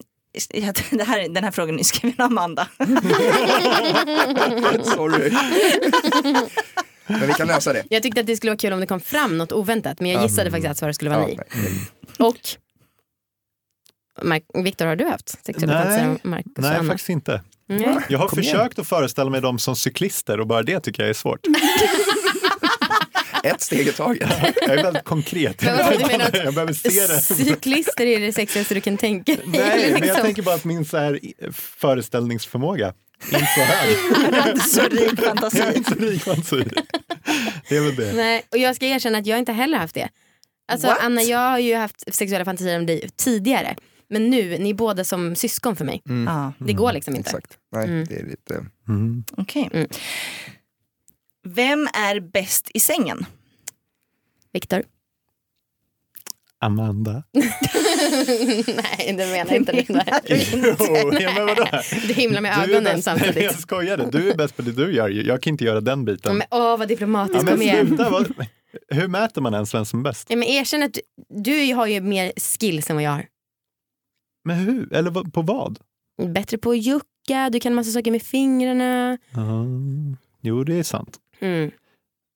[SPEAKER 3] jag- det här, den här frågan är skriven av Amanda.
[SPEAKER 5] Sorry. Men vi kan lösa det.
[SPEAKER 2] Jag tyckte att det skulle vara kul om det kom fram något oväntat men jag
[SPEAKER 4] mm.
[SPEAKER 2] gissade faktiskt att svaret skulle vara
[SPEAKER 5] Ja,
[SPEAKER 2] nej.
[SPEAKER 5] nej.
[SPEAKER 2] Och Mar- Viktor, har du haft sexuella
[SPEAKER 4] Nej.
[SPEAKER 2] fantasier om Marcus och
[SPEAKER 4] Nej,
[SPEAKER 2] Anna? Mm.
[SPEAKER 4] faktiskt inte.
[SPEAKER 2] Nej.
[SPEAKER 4] Jag har
[SPEAKER 5] Kom igen.
[SPEAKER 4] försökt att föreställa mig dem som cyklister och bara det tycker jag är svårt.
[SPEAKER 5] Ett steg i taget.
[SPEAKER 4] Jag är väldigt konkret.
[SPEAKER 2] Men vadå, du menar att-
[SPEAKER 4] Jag behöver se det.
[SPEAKER 2] Cyklister är det sexigaste du kan tänka dig.
[SPEAKER 4] Nej, men jag
[SPEAKER 2] liksom.
[SPEAKER 4] tänker bara att min så här i- föreställningsförmåga inte så hög.
[SPEAKER 3] Så rik fantasi.
[SPEAKER 4] Jag är inte så rik fantasi. Det är väl det.
[SPEAKER 2] Nej, och jag ska erkänna att jag inte heller haft det. Alltså
[SPEAKER 3] What?
[SPEAKER 2] Anna, jag har ju haft sexuella fantasier om dig tidigare. Men nu, ni är båda som syskon för mig.
[SPEAKER 3] Ja,
[SPEAKER 2] Det går liksom inte.
[SPEAKER 5] Exakt. Nej,
[SPEAKER 2] Mm.
[SPEAKER 5] det är lite...
[SPEAKER 4] Mm.
[SPEAKER 3] okej.
[SPEAKER 2] Mm.
[SPEAKER 3] Vem är bäst i sängen?
[SPEAKER 2] Viktor?
[SPEAKER 4] Amanda.
[SPEAKER 2] Nej, det menar jag inte Linda.
[SPEAKER 4] Jo, ja, men vadå?
[SPEAKER 2] Du himlar med
[SPEAKER 4] Du är
[SPEAKER 2] ögonen
[SPEAKER 4] bäst- Nej, Jag
[SPEAKER 2] samtidigt.
[SPEAKER 4] skojade. Du är bäst på det du gör. ju. Jag kan inte göra den
[SPEAKER 2] Ja,
[SPEAKER 4] biten.
[SPEAKER 2] Men, åh, vad
[SPEAKER 4] Ja,
[SPEAKER 2] diplomatiskt.
[SPEAKER 4] men
[SPEAKER 2] Kom igen.
[SPEAKER 4] sluta. Vad, hur mäter man ens vem som är bäst?
[SPEAKER 2] Ja, men erkänn att du, du har ju mer skills än vad jag har.
[SPEAKER 4] Men hur? Eller vad- på vad?
[SPEAKER 2] Bättre på att jucka, du kan massa saker med fingrarna.
[SPEAKER 4] Mm. Jo, det är sant.
[SPEAKER 2] Mm.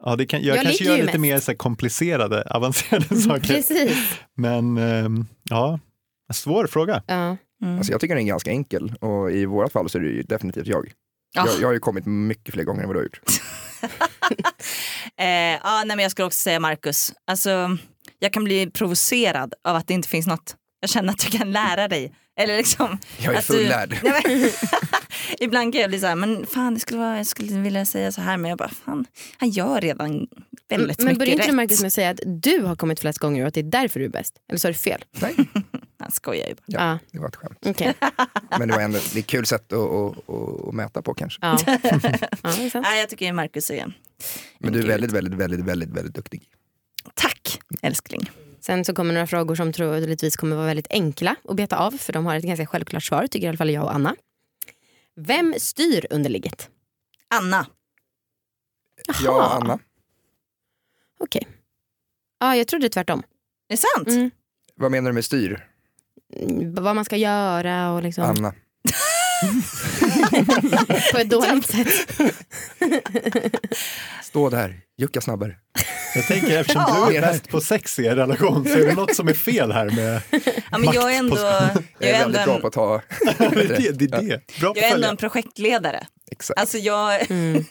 [SPEAKER 4] Ja, det kan, jag,
[SPEAKER 2] Jag
[SPEAKER 4] kanske
[SPEAKER 2] ligger
[SPEAKER 4] gör
[SPEAKER 2] ju
[SPEAKER 4] lite
[SPEAKER 2] mest. Mm,
[SPEAKER 4] mer så här, komplicerade, avancerade saker.
[SPEAKER 2] Precis.
[SPEAKER 4] Men ehm, ja, en svår fråga.
[SPEAKER 2] Ja.
[SPEAKER 5] Alltså jag tycker den är ganska enkel och i vårat fall så är det ju definitivt jag.
[SPEAKER 3] Ja.
[SPEAKER 5] Jag, jag har ju kommit mycket fler gånger än vad du har gjort.
[SPEAKER 3] Eh, ah, nej, men jag skulle också säga Marcus. Alltså, jag kan bli provocerad av att det inte finns något jag känner att du kan lära dig. Eller liksom,
[SPEAKER 5] Jag är
[SPEAKER 3] att
[SPEAKER 5] fullärd.
[SPEAKER 3] Du, nej, men, ibland kan jag bli så här, men fan det skulle vara, jag skulle vilja säga så här men jag bara fan, han gör redan väldigt
[SPEAKER 2] Mm, Men börjar
[SPEAKER 3] mycket
[SPEAKER 2] inte
[SPEAKER 3] rätt.
[SPEAKER 2] du Marcus med att säga att du har kommit flest gånger och att det är därför du är bäst? Eller så är det fel?
[SPEAKER 5] Nej,
[SPEAKER 3] Han skojar ju bara.
[SPEAKER 5] Ja.
[SPEAKER 2] Ja,
[SPEAKER 5] det var ett skämt.
[SPEAKER 2] okej.
[SPEAKER 5] Men det var ändå det är ett kul sätt att, att, att, att mäta på kanske.
[SPEAKER 2] Ja. ja, det är sant.
[SPEAKER 3] Nej jag tycker Marcus är,
[SPEAKER 5] Men du är väldigt, väldigt, väldigt, väldigt, väldigt duktig.
[SPEAKER 3] tack älskling.
[SPEAKER 2] Sen så kommer några frågor som troligtvis kommer vara väldigt enkla att beta av för de har ett ganska självklart svar tycker i alla fall jag och Anna. Vem styr underligget?
[SPEAKER 3] Anna,
[SPEAKER 5] Jag och Anna,
[SPEAKER 2] Okej. Ja, jag trodde tvärtom.
[SPEAKER 3] är det sant?
[SPEAKER 2] Mm.
[SPEAKER 5] vad menar du med styr?
[SPEAKER 2] Mm, Vad man ska göra och liksom
[SPEAKER 5] Anna.
[SPEAKER 2] på ett dåligt sätt.
[SPEAKER 5] Stå där, jucka snabbare.
[SPEAKER 4] Jag tänker eftersom du är bäst på sex i er relation så är det något som är fel här med
[SPEAKER 3] Ja, men jag är ändå,
[SPEAKER 5] Jag
[SPEAKER 3] jag
[SPEAKER 5] är
[SPEAKER 3] är ändå,
[SPEAKER 5] väldigt bra
[SPEAKER 3] en,
[SPEAKER 5] på att ta,
[SPEAKER 4] det. är det, det, är det. Bra på
[SPEAKER 3] jag är ändå en
[SPEAKER 4] följa.
[SPEAKER 3] projektledare.
[SPEAKER 5] exakt.
[SPEAKER 3] Alltså jag,
[SPEAKER 2] Mm.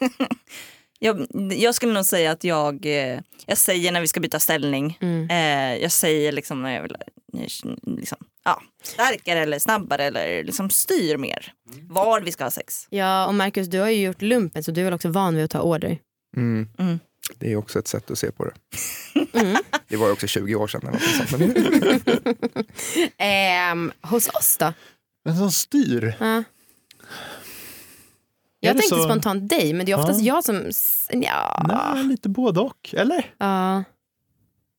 [SPEAKER 3] jag, jag skulle nog säga att jag, eh, jag säger när vi ska byta ställning,
[SPEAKER 2] Mm.
[SPEAKER 3] eh, jag säger liksom när jag vill liksom, ja, starkare eller snabbare eller liksom styr mer var vi ska ha sex.
[SPEAKER 2] Ja, och Marcus du har ju gjort lumpen så du är väl också van vid att ta order.
[SPEAKER 5] Mm.
[SPEAKER 3] Mm.
[SPEAKER 5] Det är också ett sätt att se på det.
[SPEAKER 2] Mm.
[SPEAKER 5] Det var ju också 20 år sedan. Eller något sånt, men
[SPEAKER 2] Ehm, hos oss då?
[SPEAKER 4] Men som styr.
[SPEAKER 2] Ja.
[SPEAKER 4] Är
[SPEAKER 2] Jag
[SPEAKER 4] det
[SPEAKER 2] tänkte
[SPEAKER 4] så?
[SPEAKER 2] spontant dig men det är oftast
[SPEAKER 4] Ja.
[SPEAKER 2] jag som... s- Ja.
[SPEAKER 4] Nej, lite både och. Eller?
[SPEAKER 2] ja.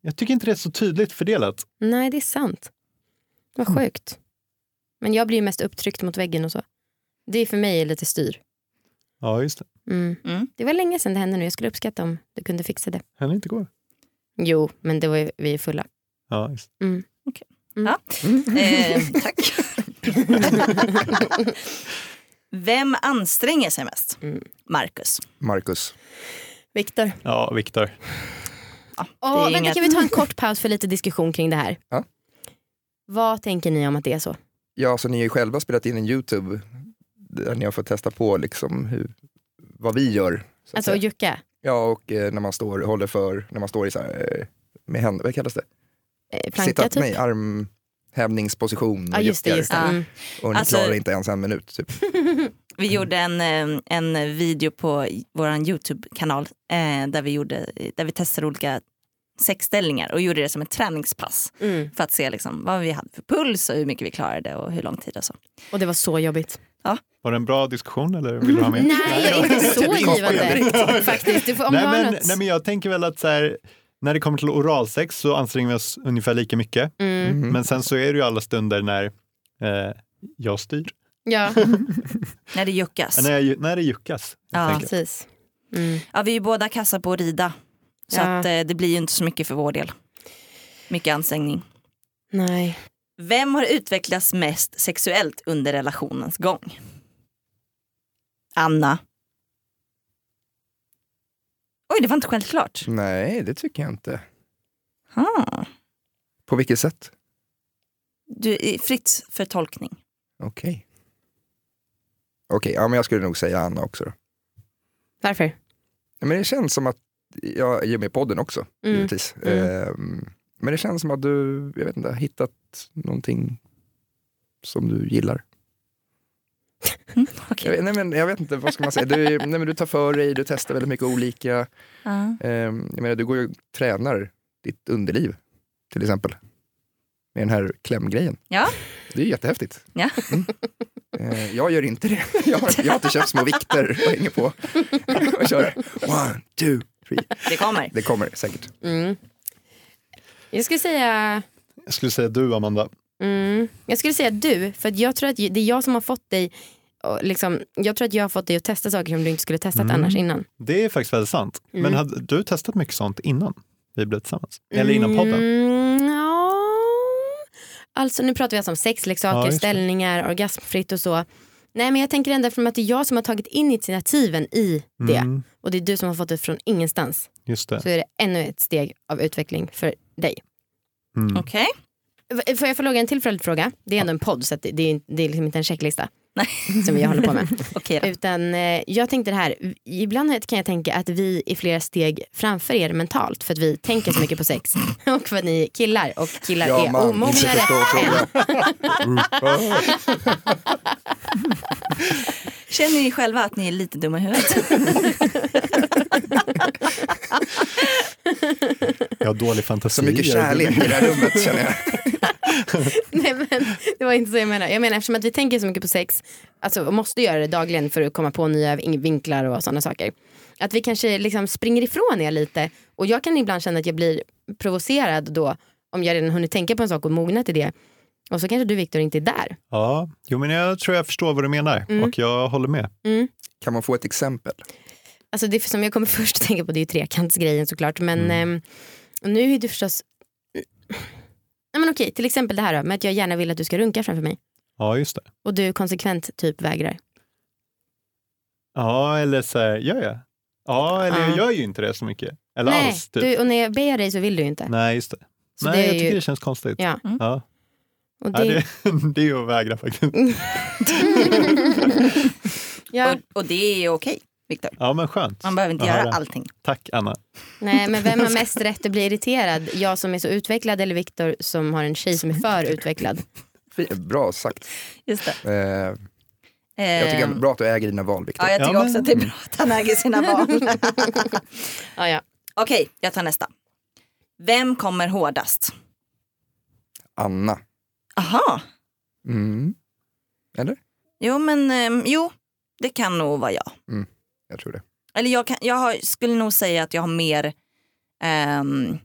[SPEAKER 4] Jag tycker inte det är så tydligt fördelat.
[SPEAKER 2] Nej det är sant. Vad sjukt. Men jag blir ju mest upptryckt mot väggen och så. Det är för mig lite styr.
[SPEAKER 4] Ja, just det.
[SPEAKER 2] Mm.
[SPEAKER 3] Mm.
[SPEAKER 2] Det var länge sedan det hände nu. Jag skulle uppskatta om du kunde fixa det.
[SPEAKER 4] Henne inte går.
[SPEAKER 2] Jo, men det var ju, vi är fulla.
[SPEAKER 4] Ja, just det.
[SPEAKER 3] Eh, tack. Vem anstränger sig mest?
[SPEAKER 2] Mm.
[SPEAKER 3] Marcus.
[SPEAKER 5] Marcus,
[SPEAKER 2] Viktor.
[SPEAKER 4] Ja, Viktor.
[SPEAKER 3] Det är
[SPEAKER 2] Åh, vänta,
[SPEAKER 3] inget-
[SPEAKER 2] kan vi ta en kort paus för lite diskussion kring det här?
[SPEAKER 5] Ja.
[SPEAKER 2] Vad tänker ni om att det är så?
[SPEAKER 5] ja, så ni har ju själva spelat in en YouTube där ni har fått testa på liksom hur, vad vi gör. Så att
[SPEAKER 2] Alltså
[SPEAKER 5] säga.
[SPEAKER 2] att jucka?
[SPEAKER 5] Ja, och eh, när man står, håller för, när man står i så här, eh, med händer, vad kallas det?
[SPEAKER 2] Eh,
[SPEAKER 5] Sitta,
[SPEAKER 2] Planka typ?
[SPEAKER 5] Nej, armhävningsposition. och
[SPEAKER 2] Ja just det,
[SPEAKER 5] juckar.
[SPEAKER 2] just det.
[SPEAKER 3] Ja.
[SPEAKER 2] Mm.
[SPEAKER 5] Och ni
[SPEAKER 3] Alltså-
[SPEAKER 5] klarar inte ens en minut. Typ.
[SPEAKER 3] Vi gjorde en, eh, en video på vår Youtube-kanal eh, där, vi gjorde, där vi testade olika sexställningar och gjorde det som ett träningspass
[SPEAKER 2] Mm.
[SPEAKER 3] för att se liksom, vad vi hade för puls och hur mycket vi klarade och hur lång tid och så.
[SPEAKER 2] Och det var så jobbigt.
[SPEAKER 4] Var det en bra diskussion eller vill du ha mer?
[SPEAKER 2] Nej, jag är inte så
[SPEAKER 5] blir
[SPEAKER 2] givande faktiskt. Du får, om
[SPEAKER 4] nej,
[SPEAKER 2] du har
[SPEAKER 4] men,
[SPEAKER 2] något.
[SPEAKER 4] nej, men jag tänker väl att så här, när det kommer till oralsex så anstränger vi oss ungefär lika mycket.
[SPEAKER 2] Mm.
[SPEAKER 5] Mhm.
[SPEAKER 4] Men sen så är det ju alla stunder när eh, jag styr.
[SPEAKER 2] Ja,
[SPEAKER 3] När det juckas.
[SPEAKER 4] När, jag, när det juckas. helt
[SPEAKER 3] Ja.
[SPEAKER 4] enkelt.
[SPEAKER 2] precis. Mm.
[SPEAKER 3] Ja, vi är ju båda kassa på att rida. Så
[SPEAKER 2] Ja.
[SPEAKER 3] att, eh, det blir ju inte så mycket för vår del. Mycket ansträngning.
[SPEAKER 2] Nej.
[SPEAKER 3] Vem har utvecklats mest sexuellt under relationens gång? Anna. Oj, det var inte självklart.
[SPEAKER 5] Nej, det tycker jag inte.
[SPEAKER 3] Ah.
[SPEAKER 5] På vilket sätt?
[SPEAKER 3] Du är fritt för tolkning.
[SPEAKER 5] Okej. Okej, ja, men jag skulle nog säga Anna också. Då.
[SPEAKER 2] Varför?
[SPEAKER 5] Ja, Men det känns som att, jag är med i podden också,
[SPEAKER 2] Mm.
[SPEAKER 5] givetvis.
[SPEAKER 2] Mm.
[SPEAKER 5] Ehm, men det känns som att du, jag vet inte, har hittat någonting som du gillar. Jag
[SPEAKER 3] Okej.
[SPEAKER 5] vet, nej, men jag vet inte, vad ska man säga? Du, nej, men du tar för dig, du testar väldigt mycket olika.
[SPEAKER 3] Ja.
[SPEAKER 5] Ehm, jag menar, du går ju och tränar ditt underliv, till exempel. Med den här klämgrejen.
[SPEAKER 3] Ja.
[SPEAKER 5] Det är ju jättehäftigt.
[SPEAKER 3] Ja.
[SPEAKER 5] Mm. Eh, jag gör inte det. Jag har, jag har inte köpt små vikter och hänger på. och kör one, two, three.
[SPEAKER 3] Det kommer.
[SPEAKER 5] Det kommer säkert.
[SPEAKER 2] Mm. Jag skulle säga...
[SPEAKER 4] Jag skulle säga du, Amanda.
[SPEAKER 2] Mm. Jag skulle säga du, för att jag tror att det är jag som har fått dig och liksom, jag tror att jag har fått dig att testa saker som du inte skulle testat
[SPEAKER 4] Mm.
[SPEAKER 2] annars innan.
[SPEAKER 4] Det är faktiskt väldigt sant.
[SPEAKER 2] Mm.
[SPEAKER 4] Men hade du testat mycket sånt innan vi blev tillsammans? Eller innan podden?
[SPEAKER 2] Mm, ja. Alltså nu pratar vi alltså om sexleksaker,
[SPEAKER 4] Ja, just det.
[SPEAKER 2] ställningar, orgasmfritt och så. Nej men jag tänker ändå eftersom att det är jag som har tagit initiativen i det
[SPEAKER 4] Mm,
[SPEAKER 2] och det är du som har fått det från ingenstans
[SPEAKER 4] just det.
[SPEAKER 2] så är det ännu ett steg av utveckling för dig.
[SPEAKER 4] Mm.
[SPEAKER 3] Okej.
[SPEAKER 2] V- Får jag fråga en till följdfråga? Det är ändå en podd så att det, det, är, det är liksom inte en checklista som jag håller på med.
[SPEAKER 3] Okej då.
[SPEAKER 2] Utan eh, jag tänkte det här, ibland kan jag tänka att vi är flera steg framför er mentalt för att vi tänker så mycket på sex och för att ni är killar och killar är
[SPEAKER 5] inte
[SPEAKER 2] E. omognare.
[SPEAKER 5] förstå frågan.
[SPEAKER 3] Känner ni själva att ni är lite dumma i huvudet?
[SPEAKER 4] Jag har dålig fantasi.
[SPEAKER 5] Så mycket kärlek i det här rummet känner jag.
[SPEAKER 2] Nej men det var inte så jag menade. Jag menar eftersom att vi tänker så mycket på sex, alltså och måste göra det dagligen för att komma på nya vin- vinklar och sådana saker. Att vi kanske liksom springer ifrån er lite och jag kan ibland känna att jag blir provocerad då om jag redan hunnit tänka på en sak och mogna till det. Och så kanske du Viktor inte är där.
[SPEAKER 4] Ja, jo, men jag tror jag förstår vad du menar
[SPEAKER 2] Mm.
[SPEAKER 4] och jag håller med.
[SPEAKER 5] Kan man få ett exempel?
[SPEAKER 2] Alltså det som jag kommer först att tänka på det är ju trekantsgrejen såklart. Men
[SPEAKER 4] Mm.
[SPEAKER 2] ehm, nu är det förstås... Nej men okej, till exempel det här då med att jag gärna vill att du ska runka framför mig.
[SPEAKER 4] Ja, just det.
[SPEAKER 2] Och du konsekvent typ vägrar.
[SPEAKER 4] Ja, eller så här, gör jag? Ja, eller
[SPEAKER 2] Ja.
[SPEAKER 4] jag gör ju inte det så mycket. Eller
[SPEAKER 2] Nej,
[SPEAKER 4] alls, typ.
[SPEAKER 2] du, och när jag ber dig så vill du ju inte.
[SPEAKER 4] Nej, just det.
[SPEAKER 2] Så
[SPEAKER 4] Nej,
[SPEAKER 2] det är
[SPEAKER 4] jag tycker
[SPEAKER 2] ju-
[SPEAKER 4] det känns konstigt.
[SPEAKER 2] Ja.
[SPEAKER 4] Ja.
[SPEAKER 2] Och
[SPEAKER 4] Ja,
[SPEAKER 2] det, Mm.
[SPEAKER 4] det, det är ju att vägra faktiskt.
[SPEAKER 2] ja,
[SPEAKER 3] Och, och det är okej, Viktor.
[SPEAKER 4] Ja, men skönt.
[SPEAKER 3] Man behöver inte
[SPEAKER 4] Att
[SPEAKER 3] göra
[SPEAKER 4] höra.
[SPEAKER 3] allting.
[SPEAKER 4] Tack, Anna.
[SPEAKER 2] nej, men vem har mest rätt att bli irriterad? Jag som är så utvecklad eller Viktor som har en tjej som är för utvecklad?
[SPEAKER 5] Fi- Eh, Bra sagt.
[SPEAKER 3] Just det.
[SPEAKER 5] Eh, jag tycker det är
[SPEAKER 3] Ehm,
[SPEAKER 5] bra att du äger dina val Viktor.
[SPEAKER 3] ja, jag tycker
[SPEAKER 4] Ja, men-
[SPEAKER 3] också att det är bra att han äger sina val.
[SPEAKER 2] Ja, ja.
[SPEAKER 3] Okej, jag tar nästa. Vem kommer hårdast?
[SPEAKER 5] Anna.
[SPEAKER 3] Aha.
[SPEAKER 5] Mm. Eller?
[SPEAKER 3] Jo, men ehm, jo, det kan nog vara jag.
[SPEAKER 5] Jag tror det.
[SPEAKER 3] Eller jag, kan, jag har, skulle nog säga att jag har mer... ehm,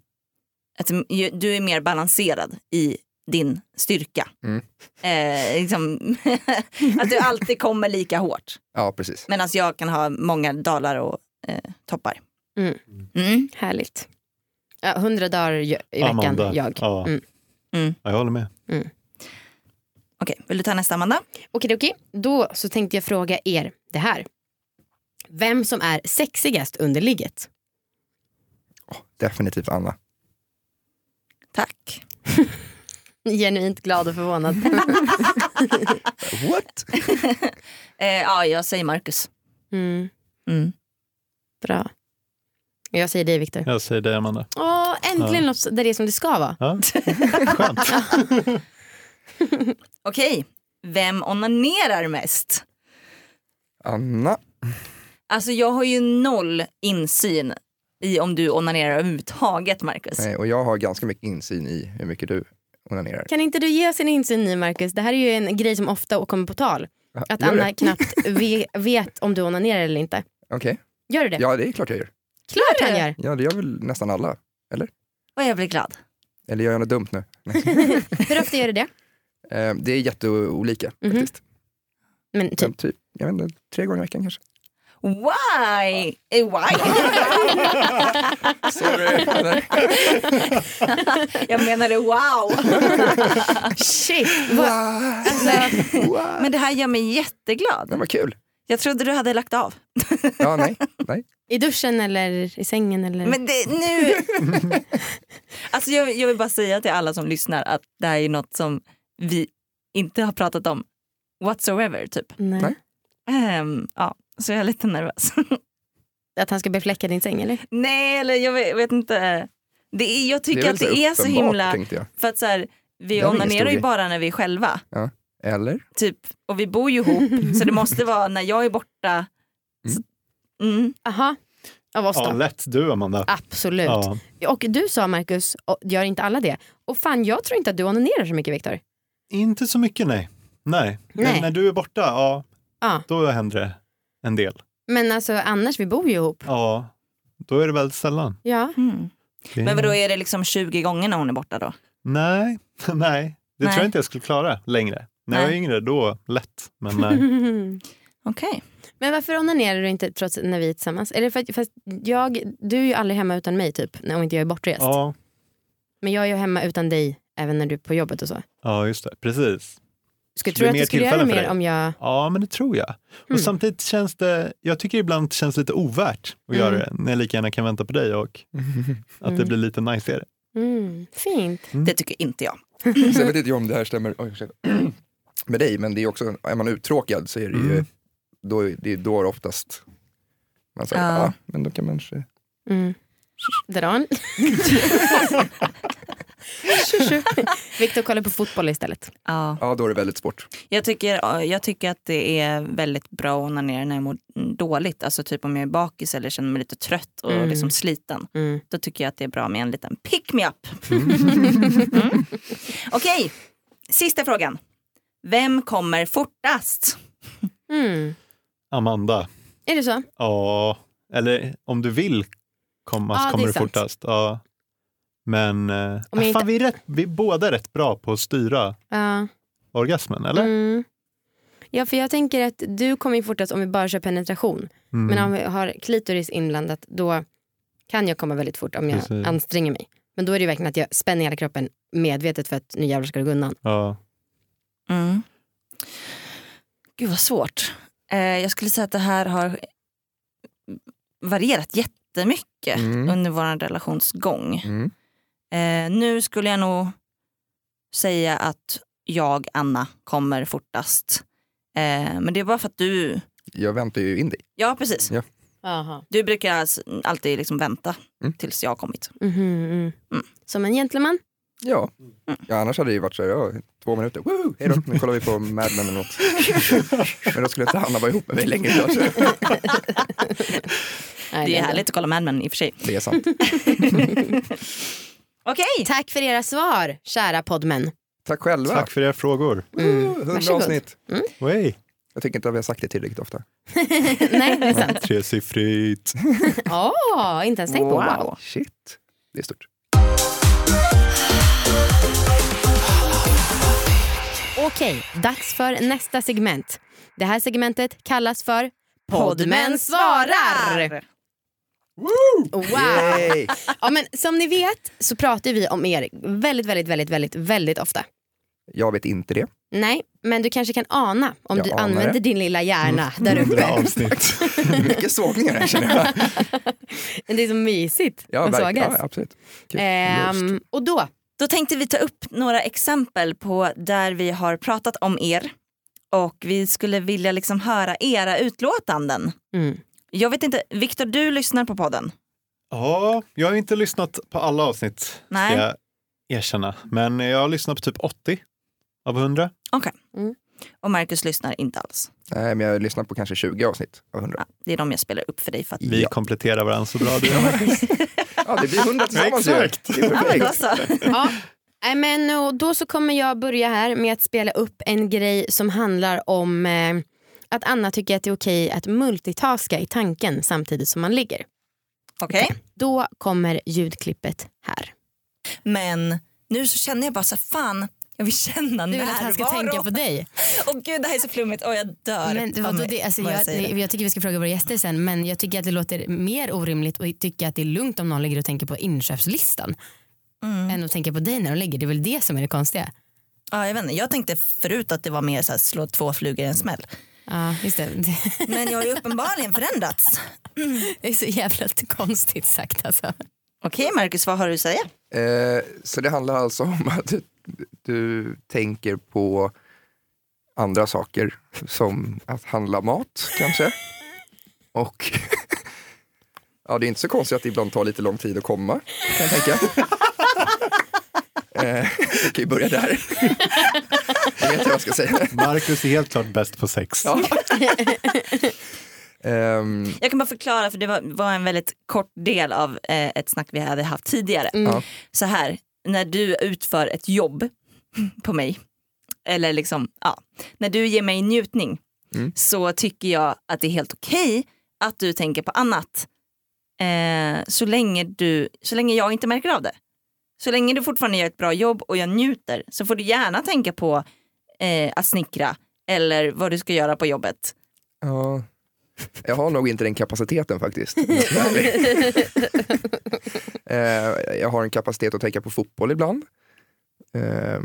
[SPEAKER 3] att ju- du är mer balanserad i din styrka.
[SPEAKER 5] Mm.
[SPEAKER 3] Eh, liksom, att du alltid kommer lika hårt.
[SPEAKER 5] Ja, precis.
[SPEAKER 3] Medan jag kan ha många dalar och eh, toppar.
[SPEAKER 2] Mm.
[SPEAKER 3] Mm.
[SPEAKER 2] Härligt. Ja, 100 dagar i i veckan,
[SPEAKER 4] Amanda.
[SPEAKER 2] jag.
[SPEAKER 4] Ja.
[SPEAKER 2] Mm.
[SPEAKER 3] Mm.
[SPEAKER 4] Ja, jag håller med.
[SPEAKER 3] Okej, vill du ta nästa Amanda?
[SPEAKER 2] Okej, okej. Då så tänkte jag fråga er det här. Vem som är sexigast under ligget?
[SPEAKER 5] Definitivt Anna.
[SPEAKER 3] Tack.
[SPEAKER 2] Genuint glad och förvånad.
[SPEAKER 5] What?
[SPEAKER 3] Eh, ja, jag säger Marcus.
[SPEAKER 2] Mm,
[SPEAKER 3] Mm.
[SPEAKER 2] bra. Jag säger dig Viktor.
[SPEAKER 4] Jag säger det, Amanda.
[SPEAKER 2] Åh, äntligen
[SPEAKER 4] Ja.
[SPEAKER 2] något där det är som det ska vara.
[SPEAKER 4] Ja. Skönt.
[SPEAKER 3] Okej, vem onanerar mest?
[SPEAKER 5] Anna.
[SPEAKER 3] Alltså jag har ju noll insyn i om du onanerar överhuvudtaget Marcus.
[SPEAKER 5] Nej, och jag har ganska mycket insyn i hur mycket du onanerar.
[SPEAKER 2] Kan inte du ge oss en insyn i Marcus? Det här är ju en grej som ofta kommer på tal. Att
[SPEAKER 5] Gör det?
[SPEAKER 2] Anna knappt ve- vet om du onanerar eller inte.
[SPEAKER 5] Okej.
[SPEAKER 2] Gör du det?
[SPEAKER 5] Ja, det är klart jag gör.
[SPEAKER 2] Klart han gör.
[SPEAKER 5] Ja, det gör väl nästan alla.
[SPEAKER 3] Och jag blir glad.
[SPEAKER 5] Eller gör jag något dumt nu? Nej.
[SPEAKER 2] Hur ofta gör du det?
[SPEAKER 5] Eh, det är jätteolika
[SPEAKER 2] Mhm.
[SPEAKER 5] faktiskt.
[SPEAKER 2] Men typ.
[SPEAKER 5] Men typ, jag vet inte, tre gånger i veckan kanske.
[SPEAKER 3] Why? Eh, Why?
[SPEAKER 5] Sorry. Eller-
[SPEAKER 3] jag menade wow.
[SPEAKER 2] Shit! Vad, alltså,
[SPEAKER 3] Men det här gör mig
[SPEAKER 5] Men
[SPEAKER 3] jätteglad.
[SPEAKER 5] vad kul.
[SPEAKER 3] Jag trodde du hade lagt av.
[SPEAKER 5] Ja, nej. nej.
[SPEAKER 2] I duschen eller i sängen eller?
[SPEAKER 3] Men det, nu... alltså jag, jag vill bara säga till alla som lyssnar att det här är något som vi inte har pratat om whatsoever typ.
[SPEAKER 2] Nej.
[SPEAKER 5] Nej.
[SPEAKER 3] Ehm, ja, så jag är lite nervös.
[SPEAKER 2] Att han ska befläcka din säng eller?
[SPEAKER 3] Nej, eller jag vet, vet inte. Det är, jag tycker
[SPEAKER 5] väl
[SPEAKER 3] att det är så
[SPEAKER 5] uppenbart,
[SPEAKER 3] himla...
[SPEAKER 5] Tänkte jag.
[SPEAKER 3] För att så här,
[SPEAKER 5] Det
[SPEAKER 3] vi
[SPEAKER 5] är väl ingen stor
[SPEAKER 3] onanerar ju
[SPEAKER 5] grej.
[SPEAKER 3] bara när vi är själva.
[SPEAKER 5] Eller?
[SPEAKER 3] Typ, och vi bor ju ihop, så det måste vara när jag är borta. Så, mm.
[SPEAKER 2] Aha. Av oss
[SPEAKER 4] Ja,
[SPEAKER 2] då?
[SPEAKER 4] lätt du, Amanda.
[SPEAKER 2] Absolut.
[SPEAKER 4] Ja.
[SPEAKER 2] Och du sa Marcus, och gör inte alla det? Och fan jag tror inte att du onanerar så mycket Viktor.
[SPEAKER 4] Inte så mycket, nej. Nej.
[SPEAKER 2] Nej.
[SPEAKER 4] Men när du är borta, ja,
[SPEAKER 2] Ja.
[SPEAKER 4] då händer det en del.
[SPEAKER 2] Men alltså annars, vi bor ju ihop.
[SPEAKER 4] Ja, då är det väldigt sällan.
[SPEAKER 2] Ja.
[SPEAKER 3] Hmm.
[SPEAKER 4] Det-
[SPEAKER 3] Men vadå, är det liksom 20 gånger när hon är borta då?
[SPEAKER 4] Nej, nej. Det
[SPEAKER 3] Nej.
[SPEAKER 4] tror jag inte jag skulle klara längre. När jag var
[SPEAKER 3] Nej.
[SPEAKER 4] yngre, då lätt. Men eh, nej.
[SPEAKER 3] Okej.
[SPEAKER 2] Men varför onanerar du inte trots när vi är tillsammans? Eller för, att- för att jag, du är ju aldrig hemma utan mig typ, när- om inte jag är bortrest.
[SPEAKER 4] ja,
[SPEAKER 2] Men jag är ju hemma utan dig även när du är på jobbet och så.
[SPEAKER 4] ja, just det. Precis.
[SPEAKER 2] Skulle
[SPEAKER 4] Så det
[SPEAKER 2] tro
[SPEAKER 4] är
[SPEAKER 2] att
[SPEAKER 4] mer
[SPEAKER 2] du skulle göra
[SPEAKER 4] tillfällen för
[SPEAKER 2] mer
[SPEAKER 4] dig?
[SPEAKER 2] om jag...
[SPEAKER 4] Ja, men det tror jag.
[SPEAKER 2] Mm.
[SPEAKER 4] Och samtidigt känns det, jag tycker ibland det känns lite ovärt att
[SPEAKER 2] Mm.
[SPEAKER 4] göra det, när jag lika gärna kan vänta på dig och att det
[SPEAKER 2] Mm.
[SPEAKER 4] blir lite najsigare.
[SPEAKER 2] Mm, fint.
[SPEAKER 3] Det tycker inte jag.
[SPEAKER 5] Sen vet inte jag om det här stämmer oj, ursäkta. med dig, men det är också, är man uttråkad så är det ju,
[SPEAKER 4] Mm.
[SPEAKER 5] då, är- det är då det oftast man säger,
[SPEAKER 3] Ja.
[SPEAKER 5] ja. ah, men då kan man se.
[SPEAKER 2] Mm. Dran. Viktor kollar på fotboll istället.
[SPEAKER 3] Ja.
[SPEAKER 5] Ja, då är det väldigt sport.
[SPEAKER 3] Jag, tycker, jag tycker att det är väldigt bra att onanera när jag mår dåligt. Alltså typ om jag är bakis eller känner mig lite trött och
[SPEAKER 2] Mm.
[SPEAKER 3] liksom sliten.
[SPEAKER 2] Mm.
[SPEAKER 3] Då tycker jag att det är bra med en liten pick-me-up. Mm. Okej, sista frågan. Vem kommer fortast?
[SPEAKER 2] Mm.
[SPEAKER 4] Amanda.
[SPEAKER 2] Är det så?
[SPEAKER 4] Ja, eller om du vill komma
[SPEAKER 2] Ja,
[SPEAKER 4] så
[SPEAKER 2] det
[SPEAKER 4] kommer
[SPEAKER 2] är
[SPEAKER 4] du
[SPEAKER 2] sant.
[SPEAKER 4] fortast. Ja. Men eh,
[SPEAKER 2] jag
[SPEAKER 4] fan,
[SPEAKER 2] inte-
[SPEAKER 4] vi, är rätt, vi är båda rätt bra på att styra
[SPEAKER 2] Ja.
[SPEAKER 4] orgasmen, eller?
[SPEAKER 2] Mm. Ja, för jag tänker att du kommer ju fortast om vi bara kör penetration.
[SPEAKER 4] Mm.
[SPEAKER 2] Men om vi har klitoris inblandat då kan jag komma väldigt fort om jag
[SPEAKER 4] Precis.
[SPEAKER 2] anstränger mig. Men då är det ju verkligen att jag spänner hela kroppen medvetet för att nu jävlar ska det gå undan.
[SPEAKER 4] Ja.
[SPEAKER 3] Mm. Gud vad svårt. Eh, jag skulle säga att det här har varierat jättemycket
[SPEAKER 5] Mm.
[SPEAKER 3] Äh, under vår relationsgång.
[SPEAKER 5] Mm.
[SPEAKER 3] Eh, nu skulle jag nog säga att jag, Anna, kommer fortast. Eh, men det är bara för att du...
[SPEAKER 5] Jag väntar ju in dig.
[SPEAKER 3] Ja, precis.
[SPEAKER 2] Aha.
[SPEAKER 3] Du brukar alltså alltid liksom vänta
[SPEAKER 5] Mm.
[SPEAKER 3] tills jag har kommit.
[SPEAKER 2] mm. Som en gentleman.
[SPEAKER 5] Ja.
[SPEAKER 3] Mm.
[SPEAKER 5] ja, annars hade det ju varit så här, ja, två minuter, Woo, hej då, nu kollar vi på Mad Men eller något. Men då skulle inte Hanna vara ihop med mig längre. Alltså.
[SPEAKER 2] Nej,
[SPEAKER 3] Det är
[SPEAKER 2] nej,
[SPEAKER 3] härligt att kolla Mad Men i och för sig.
[SPEAKER 5] Det är sant.
[SPEAKER 3] Okej!
[SPEAKER 2] nej. Tack för era svar, kära poddmän.
[SPEAKER 5] Tack själva.
[SPEAKER 4] Tack för era frågor.
[SPEAKER 3] Mm.
[SPEAKER 5] Woo, 100
[SPEAKER 2] Varsågod.
[SPEAKER 5] avsnitt.
[SPEAKER 4] Oj,
[SPEAKER 5] Jag tycker inte att vi har sagt det tillräckligt ofta.
[SPEAKER 2] nej, det är sant.
[SPEAKER 4] tresiffrigt.
[SPEAKER 2] Åh, inte ens tänkt på. Wow.
[SPEAKER 5] Shit, det är stort.
[SPEAKER 2] Okej, dags för nästa segment. Det här segmentet kallas för Poddmän svarar! Wow!
[SPEAKER 5] Yay.
[SPEAKER 2] Ja, men som ni vet så pratar vi om er väldigt, väldigt, väldigt, väldigt, väldigt ofta.
[SPEAKER 5] Jag vet inte det.
[SPEAKER 2] Nej, men du kanske kan ana om
[SPEAKER 5] Jag
[SPEAKER 2] du
[SPEAKER 5] anar
[SPEAKER 2] använder
[SPEAKER 5] det. Mm.
[SPEAKER 2] din lilla hjärna där
[SPEAKER 4] Hundra
[SPEAKER 2] uppe.
[SPEAKER 4] avsnitt.
[SPEAKER 5] Mycket sågningar här känner jag.
[SPEAKER 2] Det är så mysigt
[SPEAKER 5] Ja,
[SPEAKER 2] att
[SPEAKER 5] verk-
[SPEAKER 2] sågas.
[SPEAKER 5] ja absolut. Kul. Lust.
[SPEAKER 2] Ehm, och då,
[SPEAKER 3] Då tänkte vi ta upp några exempel på där vi har pratat om er och vi skulle vilja liksom höra era utlåtanden.
[SPEAKER 2] mm,
[SPEAKER 3] Jag vet inte, Viktor du lyssnar på podden?
[SPEAKER 4] Ja, jag har inte lyssnat på alla avsnitt, ska
[SPEAKER 3] Nej.
[SPEAKER 4] jag erkänna. Men jag har lyssnat på typ 80 av 100.
[SPEAKER 3] Och Marcus lyssnar inte alls.
[SPEAKER 5] Nej, men jag lyssnar på kanske 20 avsnitt av 100.
[SPEAKER 3] Ja, det är de jag spelar upp för dig för att
[SPEAKER 4] Vi
[SPEAKER 5] Ja.
[SPEAKER 4] kompletterar varandra så bra du gör.
[SPEAKER 5] Ja, det blir 100 tillsammans ju.
[SPEAKER 4] Exakt.
[SPEAKER 5] Det är
[SPEAKER 3] Ja, men då
[SPEAKER 5] perfekt.
[SPEAKER 3] så.
[SPEAKER 2] Ja, nej, men och då så kommer jag börja här med att spela upp en grej som handlar om eh, att Anna tycker att det är okej att multitaska i tanken samtidigt som man ligger.
[SPEAKER 3] Okej.
[SPEAKER 2] Då kommer ljudklippet här.
[SPEAKER 3] Men nu så känner jag bara så här, fan jag vill känna närvaro.
[SPEAKER 2] dig.
[SPEAKER 3] Åh gud det här är så flummigt, åh jag dör.
[SPEAKER 7] Men
[SPEAKER 3] av
[SPEAKER 7] vadå
[SPEAKER 3] mig
[SPEAKER 7] det, alltså
[SPEAKER 3] vad jag
[SPEAKER 7] jag,
[SPEAKER 3] säger.
[SPEAKER 7] jag, tycker vi ska fråga våra gäster sen men jag tycker att det låter mer orimligt och tycka att det är lugnt om någon ligger och tänker på inköpslistan än att tänka på dig när de ligger. Det är väl det som är det konstiga.
[SPEAKER 3] Ja, jag, vet inte. jag tänkte förut att det var mer så här, slå två flugor i en smäll.
[SPEAKER 7] Ja, just det.
[SPEAKER 3] Men jag har ju uppenbarligen förändrats.
[SPEAKER 7] Det är så jävla konstigt sagt alltså.
[SPEAKER 3] Okej Marcus, vad har du att säga?
[SPEAKER 5] Eh, så det handlar alltså om att du, du tänker på andra saker som att handla mat kanske. Och ja, det är inte så konstigt att det ibland tar lite lång tid att komma kan jag tänka. Eh, vi kan ju börja där. Jag vet inte vad jag ska säga.
[SPEAKER 4] Marcus är helt klart bäst på sex.
[SPEAKER 5] Ja. Ehm,
[SPEAKER 3] Jag kan bara förklara för det var, var en väldigt kort del av eh, ett snack vi hade haft tidigare.
[SPEAKER 5] Ja.
[SPEAKER 3] Så här, när du utför ett jobb på mig, eller liksom, ja, när du ger mig njutning
[SPEAKER 5] Mm.
[SPEAKER 3] så tycker jag att det är helt okej att du tänker på annat. Eh, så, länge du, så länge jag inte märker av det. Så länge du fortfarande gör ett bra jobb och jag njuter så får du gärna tänka på eh, att snickra eller vad du ska göra på jobbet.
[SPEAKER 5] Ja. Jag har nog inte den kapaciteten faktiskt. om jag ska vara ärlig. Eh, jag har en kapacitet att tänka på fotboll ibland. Eh,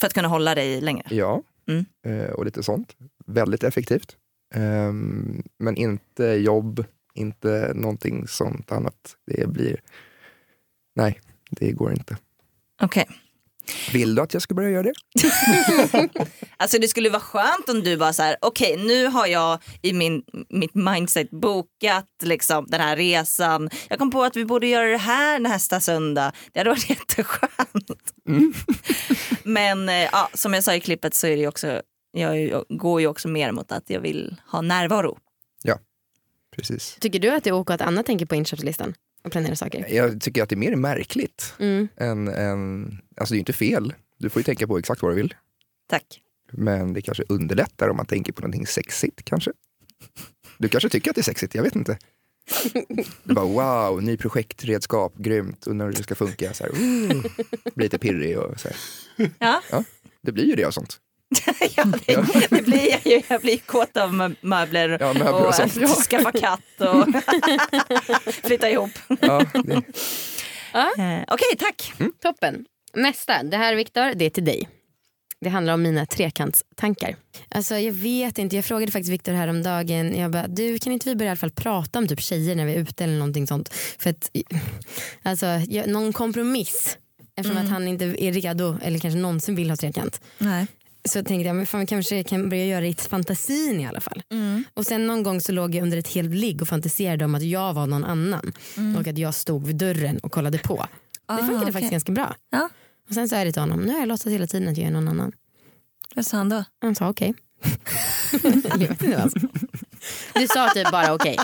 [SPEAKER 3] För att kunna hålla dig längre.
[SPEAKER 5] Ja,
[SPEAKER 3] Mm.
[SPEAKER 5] Eh, och lite sånt. Väldigt effektivt. Eh, Men inte jobb, inte någonting sånt annat. Det blir, nej, det går inte.
[SPEAKER 3] Okej.
[SPEAKER 5] Vill du att jag ska börja göra det?
[SPEAKER 3] Alltså det skulle vara skönt om du bara så här, okej nu har jag i min, mitt mindset bokat liksom, den här resan. Jag kom på att vi borde göra det här nästa söndag. Det hade varit jätteskönt.
[SPEAKER 5] Mm.
[SPEAKER 3] Men eh, ja, som jag sa i klippet så är det ju också, jag är ju- går ju också mer mot att jag vill ha närvaro.
[SPEAKER 5] Precis.
[SPEAKER 2] Tycker du att det är ok att Anna tänker på inköpslistan och planerar saker?
[SPEAKER 5] Jag tycker att det är mer märkligt
[SPEAKER 2] Mm.
[SPEAKER 5] än, än alltså det är ju inte fel. Du får ju tänka på exakt vad du vill.
[SPEAKER 3] Tack.
[SPEAKER 5] Men det kanske underlättar om man tänker på någonting sexigt kanske. Du kanske tycker att det är sexigt, jag vet inte. Du bara wow, ny projektredskap, grymt, undrar hur det ska funka. Så här, uh, blir lite pirrig och så här.
[SPEAKER 3] Ja.
[SPEAKER 5] Det blir ju det av sånt.
[SPEAKER 3] ja, det, det blir jag ju. Jag blir ju kåt av mö- möbler,
[SPEAKER 5] Ja, möbler och sånt, ja.
[SPEAKER 3] skaffa katt och flytta ihop.
[SPEAKER 5] Ja, det,
[SPEAKER 3] Eh, Okej, tack.
[SPEAKER 2] Toppen. Nästa, det här Viktor, det är till dig. Det handlar om mina trekantstankar.
[SPEAKER 7] Alltså jag vet inte, jag frågade faktiskt Viktor häromdagen, jag bara, du kan inte vi börja i alla fall prata om typ tjejer när vi är ute eller någonting sånt. För att, alltså jag, någon kompromiss. Eftersom
[SPEAKER 2] Mm.
[SPEAKER 7] att han inte är redo eller kanske någonsin vill ha trekant.
[SPEAKER 3] Nej.
[SPEAKER 7] Så tänkte jag, men fan vi kanske kan börja göra det i fantasin i alla fall. Och sen någon gång så låg jag under ett helt ligg och fantiserade om att jag var någon annan. Och att jag stod vid dörren och kollade på. det funkade
[SPEAKER 3] okej.
[SPEAKER 7] faktiskt ganska bra.
[SPEAKER 3] Ja.
[SPEAKER 7] Och sen sa jag det till honom, nu har jag låtsats hela tiden att jag är någon annan.
[SPEAKER 3] Vad sa han då?
[SPEAKER 7] Han sa okej. Eller jag vet inte vad han sa.
[SPEAKER 2] Du sa typ bara okej.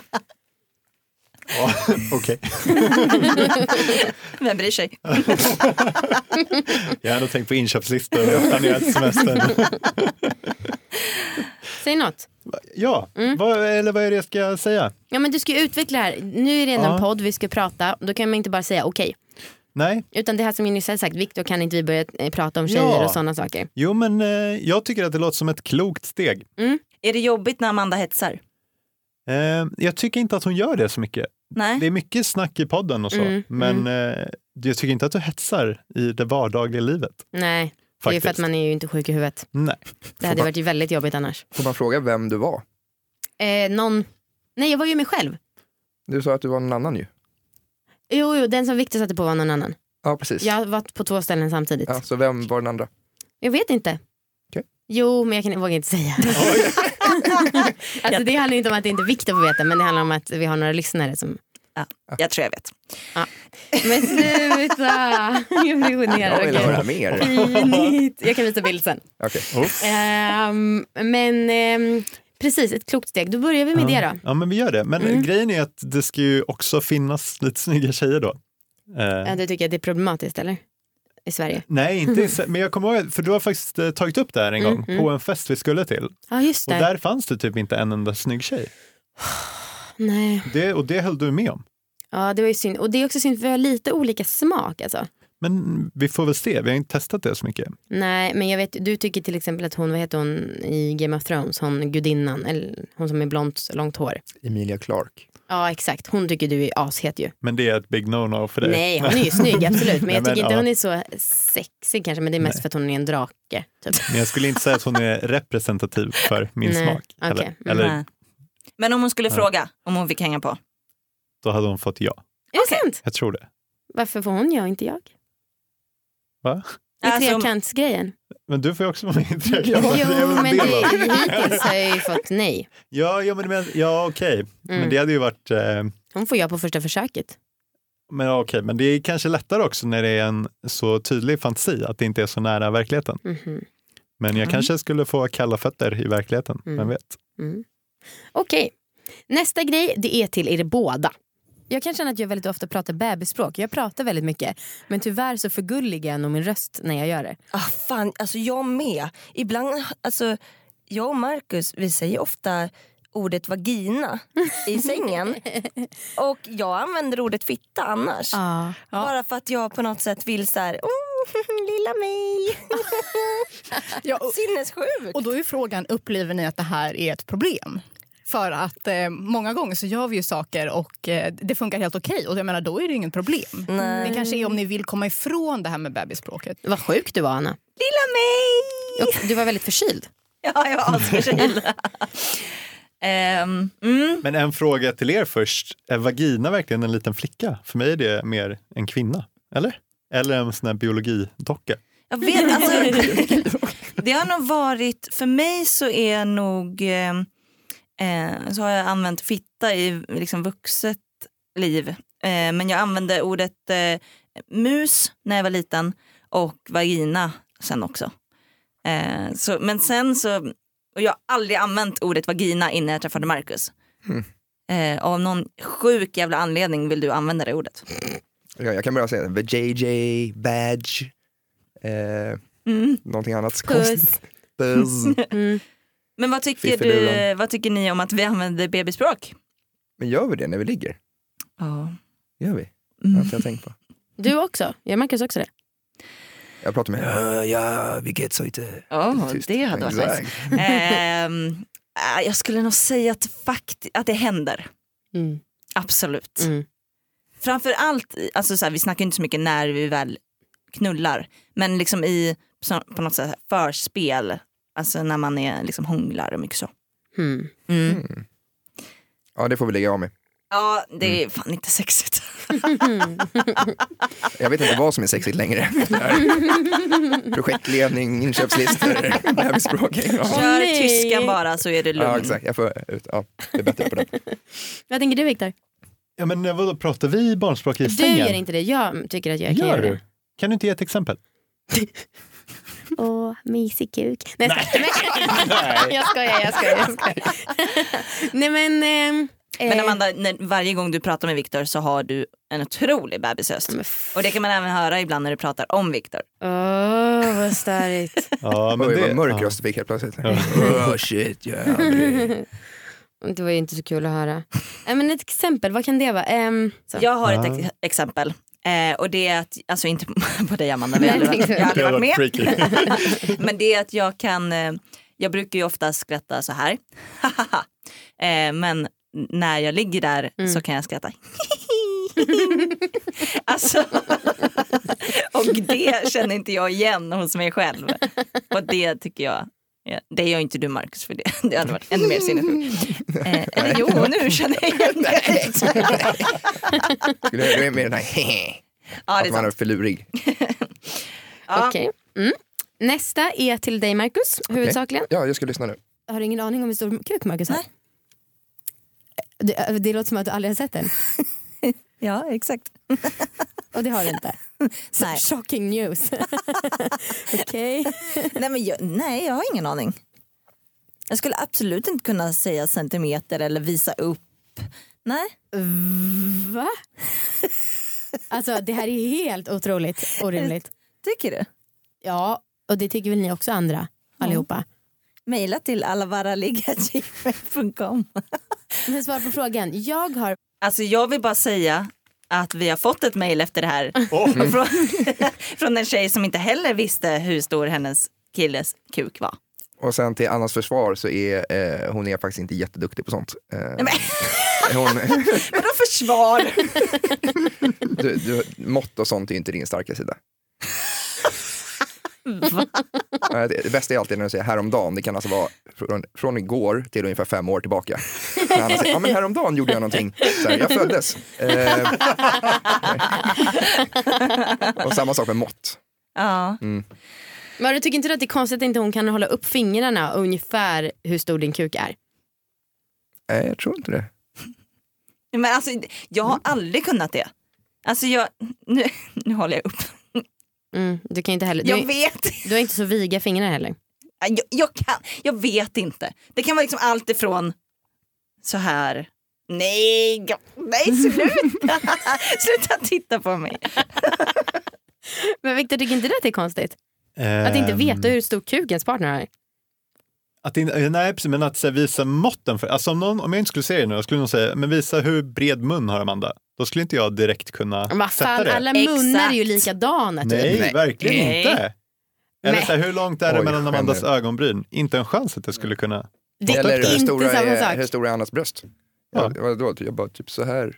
[SPEAKER 4] Ja, Okej,
[SPEAKER 3] Vem bryr sig?
[SPEAKER 4] jag har ändå tänkt på inköpslistor och planerat semestern.
[SPEAKER 2] Säg något.
[SPEAKER 4] Ja,
[SPEAKER 2] Mm.
[SPEAKER 4] vad, eller vad är det jag ska säga?
[SPEAKER 2] Ja men du ska ju utveckla det här. Nu är det ändå
[SPEAKER 4] Ja.
[SPEAKER 2] en podd, vi ska prata. Då kan man inte bara säga okej.
[SPEAKER 4] Nej,
[SPEAKER 2] Utan det här som jag nyss hade sagt, Viktor kan inte vi börja eh, prata om tjejer
[SPEAKER 4] Ja.
[SPEAKER 2] och sådana saker.
[SPEAKER 4] jo men eh, jag tycker att det låter som ett klokt steg.
[SPEAKER 3] Är det jobbigt när Amanda hetsar?
[SPEAKER 4] Eh, jag tycker inte att hon gör det så mycket.
[SPEAKER 3] Nej.
[SPEAKER 4] Det är mycket snack i podden och så,
[SPEAKER 2] Mm,
[SPEAKER 4] men eh, jag tycker inte att du hetsar i det vardagliga livet.
[SPEAKER 2] Nej, det är ju
[SPEAKER 4] Faktiskt.
[SPEAKER 2] för att man är ju inte sjuk i huvudet.
[SPEAKER 4] Nej.
[SPEAKER 2] Det hade varit ju väldigt jobbigt annars.
[SPEAKER 5] får man fråga vem du var?
[SPEAKER 2] Eh, någon... Nej jag var ju mig själv.
[SPEAKER 5] Du sa att du var någon annan ju.
[SPEAKER 2] Jo, jo den som Viktor satte på var någon annan.
[SPEAKER 5] Ja, precis.
[SPEAKER 2] Jag har varit på två ställen samtidigt.
[SPEAKER 5] Ja, så vem var den andra?
[SPEAKER 2] Jag vet inte.
[SPEAKER 5] Okej.
[SPEAKER 2] Jo, men jag kan, vågar inte säga. alltså, det handlar inte om att det inte är Viktor får veta, men det handlar om att vi har några lyssnare som...
[SPEAKER 3] Jag tror jag vet.
[SPEAKER 2] Men sluta! Jag blir
[SPEAKER 5] Jag vill
[SPEAKER 2] generad.
[SPEAKER 5] höra mer.
[SPEAKER 2] Pinigt. Jag kan visa bild sen.
[SPEAKER 5] Okej.
[SPEAKER 2] Ehm, men ehm, precis, ett klokt steg. Då börjar vi med det då. Mm.
[SPEAKER 4] Ja, men vi gör det. Men grejen är att det ska ju också finnas lite snygga tjejer då. Eh,
[SPEAKER 2] Ja, du tycker att det är problematiskt eller? I Sverige?
[SPEAKER 4] Nej, inte i se- men jag kommer ihåg, för du har faktiskt eh, tagit upp det här
[SPEAKER 2] Mm,
[SPEAKER 4] en gång på en fest vi skulle till.
[SPEAKER 2] Ja, just
[SPEAKER 4] Och
[SPEAKER 2] det.
[SPEAKER 4] där fanns det typ inte en enda snygg tjej.
[SPEAKER 2] Nej.
[SPEAKER 4] Det, och det höll du med om.
[SPEAKER 2] Ja, det var ju synd. Och det är också synd för vi har lite olika smak alltså.
[SPEAKER 4] Men vi får väl se, vi har inte testat det så mycket.
[SPEAKER 2] Nej, men jag vet, du tycker till exempel att hon, vad heter hon i Game of Thrones, hon gudinnan, eller hon som är blont, långt hår.
[SPEAKER 5] Emilia Clark.
[SPEAKER 2] Ja, exakt. Hon tycker du är ashet ju.
[SPEAKER 4] Men det är ett big no-no för dig.
[SPEAKER 2] Nej, hon är ju snygg, absolut. Men
[SPEAKER 4] Nej,
[SPEAKER 2] jag tycker
[SPEAKER 4] men,
[SPEAKER 2] inte
[SPEAKER 4] ja.
[SPEAKER 2] hon är så sexig kanske, men det är mest för att hon är en drake. Typ.
[SPEAKER 4] Men jag skulle inte säga att hon är representativ för min
[SPEAKER 2] Nej,
[SPEAKER 4] smak.
[SPEAKER 2] okej.
[SPEAKER 4] Eller,
[SPEAKER 2] Mm.
[SPEAKER 4] eller
[SPEAKER 3] Nej. Men om hon skulle fråga om hon fick hänga på?
[SPEAKER 4] då hade hon fått ja.
[SPEAKER 2] Är det sant?
[SPEAKER 4] Jag tror det.
[SPEAKER 2] Varför får hon jag och inte jag?
[SPEAKER 4] Va?
[SPEAKER 2] I
[SPEAKER 3] Alltså,
[SPEAKER 2] trekantsgrejen.
[SPEAKER 4] Men du får ju också vara med i
[SPEAKER 2] Jo,
[SPEAKER 4] Trekanten. Det är väl en
[SPEAKER 2] men
[SPEAKER 4] del
[SPEAKER 2] det,
[SPEAKER 4] av-
[SPEAKER 2] hittills har jag ju fått nej.
[SPEAKER 4] Ja, ja, men, men, ja okej. Men
[SPEAKER 2] Mm.
[SPEAKER 4] det hade ju varit... Eh,
[SPEAKER 2] Hon får jag på första försöket.
[SPEAKER 4] men, ja, okej. men det är kanske lättare också när det är en så tydlig fantasi, att det inte är så nära verkligheten.
[SPEAKER 2] Mhm.
[SPEAKER 4] Men jag kanske skulle få kalla fötter i verkligheten,
[SPEAKER 2] Mm.
[SPEAKER 4] vem vet?
[SPEAKER 2] Okej, nästa grej det är till er båda.
[SPEAKER 7] Jag kan känna att jag väldigt ofta pratar bebisspråk. Jag pratar väldigt mycket. Men tyvärr så förgulligar jag nog min röst när jag gör det.
[SPEAKER 8] Ah, fan, alltså jag med. Ibland, alltså, jag och Marcus vi säger ofta ordet vagina i sängen. Och jag använder ordet fitta annars.
[SPEAKER 7] Ah.
[SPEAKER 8] Bara för att jag på något sätt vill så här, oh, lilla mig.
[SPEAKER 9] Ja, och,
[SPEAKER 8] Sinnessjuk.
[SPEAKER 9] och då är frågan, upplever ni att det här är ett problem? För att eh, många gånger så gör vi ju saker och eh, det funkar helt okej. Och jag menar, då är det ju inget problem. Det kanske är om ni vill komma ifrån det här med bebisspråket.
[SPEAKER 2] Vad sjuk du var Anna.
[SPEAKER 8] Lilla mig.
[SPEAKER 2] Och du var väldigt förkyld.
[SPEAKER 3] ja, jag var asförkyld. Ehm, mm.
[SPEAKER 4] Men en fråga till er först. Är vagina verkligen en liten flicka? För mig är det mer en kvinna, eller? Eller en sån här biologidocka.
[SPEAKER 3] Jag vet, alltså, det har nog varit, för mig så är nog, eh, eh, så har jag använt fitta i liksom vuxet liv. Eh, men jag använde ordet eh, mus när jag var liten och vagina sen också. Eh, så, men sen så, och jag har aldrig använt ordet vagina innan jag träffade Marcus.
[SPEAKER 5] Mm.
[SPEAKER 3] Eh, av någon sjuk jävla anledning vill du använda det ordet.
[SPEAKER 5] Ja, jag kan bara säga det. JJ, badge, eh,
[SPEAKER 3] Mm.
[SPEAKER 5] någonting annat konstigt.
[SPEAKER 2] Puss. Mm.
[SPEAKER 5] Buzz.
[SPEAKER 3] Men vad tycker, du,
[SPEAKER 5] Fiffilulan.
[SPEAKER 3] vad tycker ni om att vi använder bebisspråk?
[SPEAKER 5] Men gör vi det när vi ligger?
[SPEAKER 3] Ja.
[SPEAKER 5] Gör vi? Det har
[SPEAKER 3] Mm.
[SPEAKER 5] inte Mm. jag tänkt på.
[SPEAKER 2] Du också? Jag Marcus också det.
[SPEAKER 5] Jag pratar med henne. Ja, vi get så inte.
[SPEAKER 3] Oh,
[SPEAKER 5] Tyst.
[SPEAKER 3] det hade varit
[SPEAKER 5] Exakt.
[SPEAKER 3] nice. Ehm, äh, jag skulle nog säga att, fakt- att det händer.
[SPEAKER 2] Mm.
[SPEAKER 3] Absolut.
[SPEAKER 2] Mm.
[SPEAKER 3] Framför allt, i- alltså så här, vi snackar inte så mycket när vi väl knullar. Men liksom i så- på något sätt förspel. Alltså när man är, liksom hånglar och mycket så.
[SPEAKER 2] Mm.
[SPEAKER 3] Mm.
[SPEAKER 5] Ja, det får vi lägga av med.
[SPEAKER 3] Ja, det
[SPEAKER 5] Mm.
[SPEAKER 3] är fan inte sexigt.
[SPEAKER 5] Jag vet inte vad som är sexigt längre. Det här. Projektledning, inköpslistor, bebisspråk. Ja.
[SPEAKER 3] Kör
[SPEAKER 2] nej.
[SPEAKER 3] tyskan bara så är det lugnt.
[SPEAKER 5] ja, exakt. Jag får ut. Ja, det är bättre på det.
[SPEAKER 2] Vad tänker du Viktor?
[SPEAKER 4] Ja, men eh, vadå, pratar vi barnspråk i
[SPEAKER 2] Du
[SPEAKER 4] sängen?
[SPEAKER 2] gör inte det, jag tycker att jag kan
[SPEAKER 4] Gör
[SPEAKER 2] göra
[SPEAKER 4] du?
[SPEAKER 2] det.
[SPEAKER 4] Kan du inte ge ett exempel?
[SPEAKER 2] Åh, mysig kuk. Nej, jag skojar.
[SPEAKER 4] Nej.
[SPEAKER 2] jag skojar, jag skojar. Jag skojar. Nej men... ehm,
[SPEAKER 3] Men
[SPEAKER 2] eh,
[SPEAKER 3] Amanda, när, varje gång du pratar med Viktor så har du en otrolig bebisröst.
[SPEAKER 2] men f-
[SPEAKER 3] Och det kan man även höra ibland när du pratar om Viktor.
[SPEAKER 7] eh,
[SPEAKER 2] Åh, vad störigt.
[SPEAKER 4] Ja,
[SPEAKER 5] Oj, vad mörk
[SPEAKER 4] ja.
[SPEAKER 5] röst du fick helt plötsligt. Oh shit, jag är aldrig-
[SPEAKER 2] Det var ju inte så kul att höra.
[SPEAKER 7] Eh,
[SPEAKER 2] Nej, men ett exempel, vad kan det vara? Ehm, så.
[SPEAKER 3] Jag har ett
[SPEAKER 4] Ah.
[SPEAKER 3] ex- exempel. Eh, och det är att, alltså inte på dig Amanda, vi
[SPEAKER 2] Nej,
[SPEAKER 3] har aldrig varit,
[SPEAKER 2] tänkte
[SPEAKER 3] jag
[SPEAKER 2] jag.
[SPEAKER 3] har aldrig
[SPEAKER 4] Det
[SPEAKER 3] varit
[SPEAKER 4] hade
[SPEAKER 3] med.
[SPEAKER 4] varit freaky.
[SPEAKER 3] Men det är att jag kan, eh, jag brukar ju ofta skratta så här. eh, men när jag ligger där så kan jag skratta. alltså, och det känner inte jag igen hos mig själv. Och det tycker jag, ja, det gör inte du Marcus för det, det hade varit ännu mer sinnessjukt. Eh, eller jo, nu känner jag igen det.
[SPEAKER 5] Skulle jag med den här hehe,
[SPEAKER 3] ja, det
[SPEAKER 5] att
[SPEAKER 3] är
[SPEAKER 5] man är
[SPEAKER 3] sant.
[SPEAKER 5] för lurig.
[SPEAKER 3] Ja.
[SPEAKER 2] Okej. Mm. Nästa är till dig Marcus, huvudsakligen.
[SPEAKER 5] Ja, jag ska lyssna nu.
[SPEAKER 7] Har du ingen aning om hur stor kuk Marcus har? Det, det låter som att du aldrig har sett den.
[SPEAKER 3] Ja, exakt.
[SPEAKER 7] Och det har du inte.
[SPEAKER 3] Nej.
[SPEAKER 7] Shocking news. Okej.
[SPEAKER 3] Nej, men jag, nej, jag har ingen aning. Jag skulle absolut inte kunna säga centimeter eller visa upp. Nej.
[SPEAKER 7] Va? Alltså det här är helt otroligt orimligt.
[SPEAKER 3] Tycker du?
[SPEAKER 7] Ja, och det tycker väl ni också andra allihopa.
[SPEAKER 3] Mejla till allavaraligagmail.com.
[SPEAKER 7] Men svar på frågan. Jag har
[SPEAKER 3] Alltså jag vill bara säga att vi har fått ett mejl efter det här. Från, från en tjej som inte heller visste hur stor hennes killes kuk var.
[SPEAKER 5] Och sen till Annas försvar så är eh, hon är faktiskt inte jätteduktig på sånt. Eh, hon,
[SPEAKER 3] Vadå försvar?
[SPEAKER 5] du, du, mått och sånt är ju inte din starka sida. Nej, Det det bästa är alltid när du säger häromdagen, det kan alltså vara från, från igår till ungefär fem år tillbaka. När han säger, ja men häromdagen gjorde jag någonting, så här, jag föddes. Eh, och samma sak med mått.
[SPEAKER 3] Ja.
[SPEAKER 2] Men du tycker inte du att det är konstigt att inte hon kan hålla upp fingrarna ungefär hur stor din kuk är?
[SPEAKER 5] Nej, Eh, jag tror inte det.
[SPEAKER 3] Men alltså, jag har aldrig kunnat det. Alltså jag, nu, nu håller jag upp.
[SPEAKER 2] Mm, du kan ju inte heller. Du,
[SPEAKER 3] Jag
[SPEAKER 2] är,
[SPEAKER 3] vet
[SPEAKER 2] du har inte så viga fingrar heller.
[SPEAKER 3] Äh, Jag, jag, kan, jag vet inte. Det kan vara liksom allt ifrån så här. Nej, jag- nej sluta. sluta titta på mig.
[SPEAKER 2] Men Viktor, tycker inte du att det är konstigt? Att inte
[SPEAKER 4] Ehm,
[SPEAKER 2] veta hur stor kuk ens partner har?
[SPEAKER 4] Att in, eh, nej, precis, men att så här, visa måtten. För, alltså, om, någon, om jag inte skulle se det nu, jag skulle nog säga, men visa hur bred mun har Amanda? Då skulle inte jag direkt kunna
[SPEAKER 2] Men Vad
[SPEAKER 4] sätta
[SPEAKER 2] fan,
[SPEAKER 4] det.
[SPEAKER 2] alla munnar är ju
[SPEAKER 3] Exakt.
[SPEAKER 2] likadana. Typ.
[SPEAKER 4] Nej, verkligen
[SPEAKER 3] Nej.
[SPEAKER 4] inte. Eller
[SPEAKER 2] Nej.
[SPEAKER 4] så här, hur långt är det
[SPEAKER 5] Oj,
[SPEAKER 4] mellan
[SPEAKER 5] skämmer
[SPEAKER 4] Amandas
[SPEAKER 5] du?
[SPEAKER 4] ögonbryn? Inte en chans att jag skulle kunna.
[SPEAKER 2] Det
[SPEAKER 5] Eller
[SPEAKER 2] är
[SPEAKER 5] hur
[SPEAKER 2] inte
[SPEAKER 5] stora,
[SPEAKER 2] samma
[SPEAKER 5] är, hur
[SPEAKER 2] sak.
[SPEAKER 5] stora är Annas bröst?
[SPEAKER 4] Ja.
[SPEAKER 5] Ja. vadå? jag bara typ så här.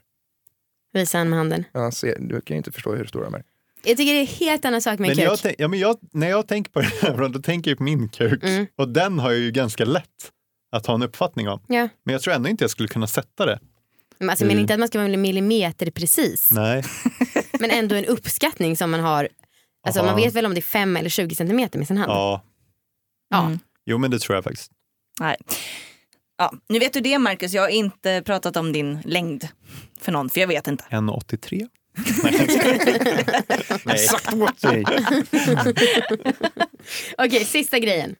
[SPEAKER 2] Visa han med handen.
[SPEAKER 5] Ja, se, du kan ju inte förstå hur stora de är.
[SPEAKER 2] Jag tycker det är helt annan sak med
[SPEAKER 4] Men
[SPEAKER 2] kuk.
[SPEAKER 4] jag tänk, ja, men jag, när jag tänker på det här, då tänker jag på min kuk.
[SPEAKER 2] Mm.
[SPEAKER 4] Och den har jag ju ganska lätt att ha en uppfattning om.
[SPEAKER 2] Ja.
[SPEAKER 4] Men jag tror ändå inte jag skulle kunna sätta det.
[SPEAKER 2] Men alltså, jag menar
[SPEAKER 4] Mm.
[SPEAKER 2] inte att man ska vara millimeter precis.
[SPEAKER 4] Nej.
[SPEAKER 2] Men ändå en uppskattning som man har. Alltså
[SPEAKER 4] Aha.
[SPEAKER 2] man vet väl om det är 5 eller 20 centimeter med sin hand.
[SPEAKER 4] Ja.
[SPEAKER 2] Ja.
[SPEAKER 3] Mm.
[SPEAKER 4] Jo, men det tror jag faktiskt.
[SPEAKER 3] Nej. Ja, nu vet du det Marcus, jag har inte pratat om din längd för någon för jag vet inte.
[SPEAKER 4] 1,83. Nej. Nej.
[SPEAKER 5] Nej.
[SPEAKER 2] Okej, sista grejen.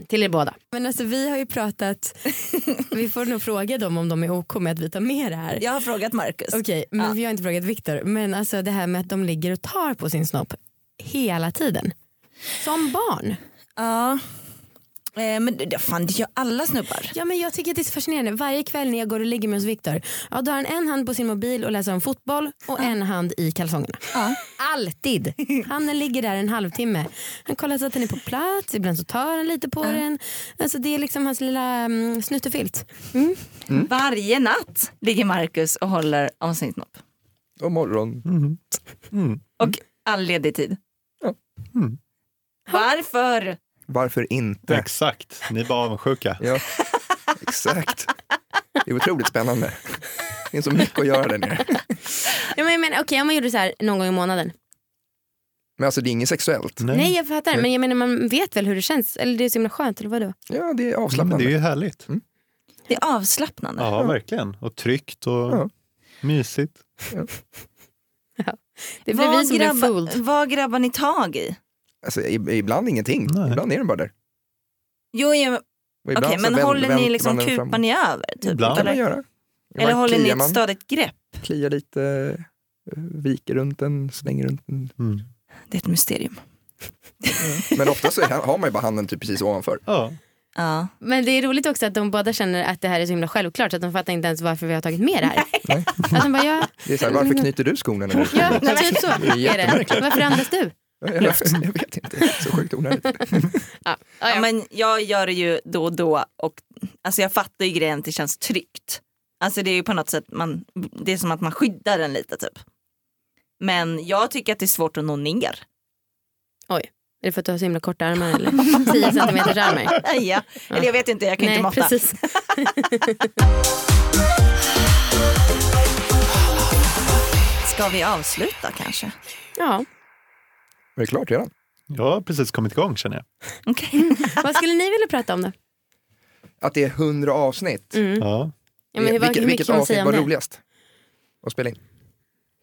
[SPEAKER 2] Till er båda.
[SPEAKER 7] Men alltså vi har ju pratat, vi får nog fråga dem om de är OK med att vi tar med det här.
[SPEAKER 3] Jag har frågat Marcus.
[SPEAKER 7] Okej, men
[SPEAKER 3] Ja.
[SPEAKER 7] vi har inte frågat Viktor. Men alltså det här med att de ligger och tar på sin snopp hela tiden. Som barn.
[SPEAKER 3] Ja. Eh, men det, fan, det gör alla snubbar.
[SPEAKER 7] Ja men jag tycker att det är så fascinerande. Varje kväll när jag går och ligger med hos Viktor, ja då har han en hand på sin mobil och läser om fotboll och en hand i kalsongerna.
[SPEAKER 3] Ja.
[SPEAKER 7] Alltid. Han ligger där en halvtimme. Han kollar så att den är på plats, ibland så tar han lite på den. Alltså det är liksom hans lilla mm, snuttefilt.
[SPEAKER 3] Varje natt ligger Marcus och håller om sin snopp.
[SPEAKER 5] God morgon.
[SPEAKER 3] Och all ledig tid.
[SPEAKER 5] Ja.
[SPEAKER 4] Mm.
[SPEAKER 3] Varför?
[SPEAKER 5] Varför inte?
[SPEAKER 4] Exakt, ni är bara avundsjuka.
[SPEAKER 5] Ja, exakt. Det är otroligt spännande. Det finns så mycket att göra där nere.
[SPEAKER 2] Ja, men, men, Okej, om man gjorde så här någon gång i månaden.
[SPEAKER 5] Men alltså det är inget sexuellt.
[SPEAKER 2] Nej jag fattar, men jag menar man vet väl hur det känns. Eller det är så himla skönt, eller vadå?
[SPEAKER 5] Ja, det är
[SPEAKER 4] Ja, Mm, men
[SPEAKER 5] avslappnande.
[SPEAKER 4] det är ju härligt.
[SPEAKER 3] Det är avslappnande.
[SPEAKER 4] Ja, verkligen. Och tryggt och
[SPEAKER 5] Ja.
[SPEAKER 4] mysigt.
[SPEAKER 2] Det blir vi som blir fooled.
[SPEAKER 3] vad grabbar ni tag i?
[SPEAKER 5] alltså, i- ibland ingenting.
[SPEAKER 4] Nej.
[SPEAKER 5] Ibland är den bara där.
[SPEAKER 3] Jo, ja, men-
[SPEAKER 5] Och
[SPEAKER 3] okej,
[SPEAKER 5] ibland så
[SPEAKER 3] men
[SPEAKER 5] vänd-
[SPEAKER 3] håller ni
[SPEAKER 5] vänd-
[SPEAKER 3] liksom
[SPEAKER 5] vänder den fram.
[SPEAKER 3] kupan ni över? Typ,
[SPEAKER 4] Ibland.
[SPEAKER 5] Det kan man
[SPEAKER 3] Eller,
[SPEAKER 5] göra.
[SPEAKER 3] eller
[SPEAKER 5] Ibland
[SPEAKER 3] håller ni
[SPEAKER 5] kliar
[SPEAKER 3] ett stadigt grepp?
[SPEAKER 5] kliar lite, eh, viker runt den, slänger runt den.
[SPEAKER 4] Mm.
[SPEAKER 3] Det är ett mysterium.
[SPEAKER 5] Men ofta så är- har man ju bara handen typ precis ovanför.
[SPEAKER 4] Ja.
[SPEAKER 3] Ja.
[SPEAKER 2] Men det är roligt också att de båda känner att det här är så himla självklart så att de fattar inte ens varför vi har tagit med det här.
[SPEAKER 5] Nej.
[SPEAKER 2] Att de bara, ja,
[SPEAKER 5] Det är så här,
[SPEAKER 3] Mm.
[SPEAKER 5] varför knyter du skorna när du
[SPEAKER 2] ja typ så
[SPEAKER 5] Det är
[SPEAKER 2] är det.
[SPEAKER 5] jättemärkligt.
[SPEAKER 2] Varför andas du?
[SPEAKER 5] Jag, jag vet inte, så sjukt onödigt.
[SPEAKER 2] Ja, ja,
[SPEAKER 3] Ja,
[SPEAKER 2] ja.
[SPEAKER 3] men jag gör det ju då och då och alltså jag fattar ju grejen att det känns tryggt. Alltså det är ju på något sätt, man, det är som att man skyddar den lite typ. Men jag tycker att det är svårt att nå ner.
[SPEAKER 2] Är det för att du har så himla korta armar eller? 10 centimeters armar?
[SPEAKER 3] ja. Eller jag vet inte, jag kan
[SPEAKER 2] Nej,
[SPEAKER 3] inte måtta.
[SPEAKER 2] precis.
[SPEAKER 3] Ska vi avsluta kanske?
[SPEAKER 2] Ja.
[SPEAKER 5] Men det är klart redan.
[SPEAKER 4] Jag har precis kommit igång känner jag.
[SPEAKER 3] Okej.
[SPEAKER 2] Vad skulle ni vilja prata om då?
[SPEAKER 5] Att det är hundra avsnitt.
[SPEAKER 4] Ja.
[SPEAKER 2] Ja, men hur, vad- hur
[SPEAKER 5] Vilket-
[SPEAKER 2] mycket
[SPEAKER 5] vilket
[SPEAKER 2] kan man
[SPEAKER 5] avsnitt
[SPEAKER 2] säga om
[SPEAKER 5] var
[SPEAKER 2] det?
[SPEAKER 5] roligast att spela in?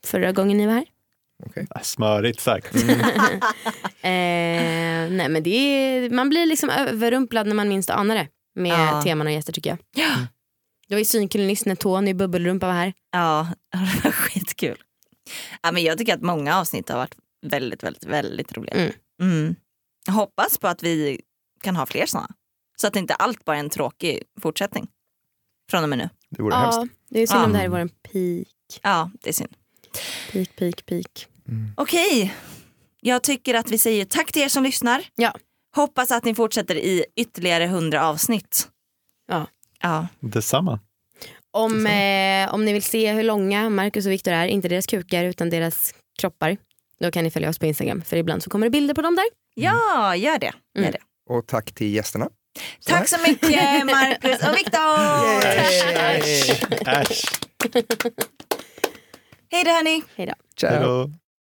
[SPEAKER 2] Förra gången ni var här?
[SPEAKER 4] Smörigt sagt.
[SPEAKER 2] Eh, nej men det är, man blir liksom överrumplad när man minst anar det med
[SPEAKER 3] Ja.
[SPEAKER 2] teman och gäster tycker jag. Ja. Det var ju synkulinist när Tony Bubbelrumpa var här.
[SPEAKER 3] Ja, det var skitkul. Ja, men jag tycker att många avsnitt har varit väldigt, väldigt, väldigt roliga.
[SPEAKER 2] Mm.
[SPEAKER 3] Mm. Jag hoppas på att vi kan ha fler sådana. Så att inte allt bara är en tråkig fortsättning. Från och med nu.
[SPEAKER 5] Det vore hemskt.
[SPEAKER 2] Ja, det Mm. är synd om
[SPEAKER 3] Ja.
[SPEAKER 2] det här är vår peak,
[SPEAKER 3] Ja, det är synd.
[SPEAKER 2] peak, peak, peak.
[SPEAKER 3] Okej, jag tycker att vi säger tack till er som lyssnar.
[SPEAKER 2] Ja.
[SPEAKER 3] Hoppas att ni fortsätter i ytterligare hundra avsnitt.
[SPEAKER 2] Ja.
[SPEAKER 3] ja.
[SPEAKER 4] Detsamma.
[SPEAKER 2] Om, eh, om ni vill se hur långa Marcus och Viktor är, inte deras kukar utan deras kroppar, då kan ni följa oss på Instagram för ibland så kommer det bilder på dem där.
[SPEAKER 3] Ja, gör det. Gör
[SPEAKER 2] Mm.
[SPEAKER 3] det.
[SPEAKER 5] Och tack till gästerna.
[SPEAKER 3] Tack så mycket Marcus och Viktor!
[SPEAKER 4] Äsch.
[SPEAKER 3] Hej då hörni!
[SPEAKER 5] Ciao.
[SPEAKER 4] Hej då.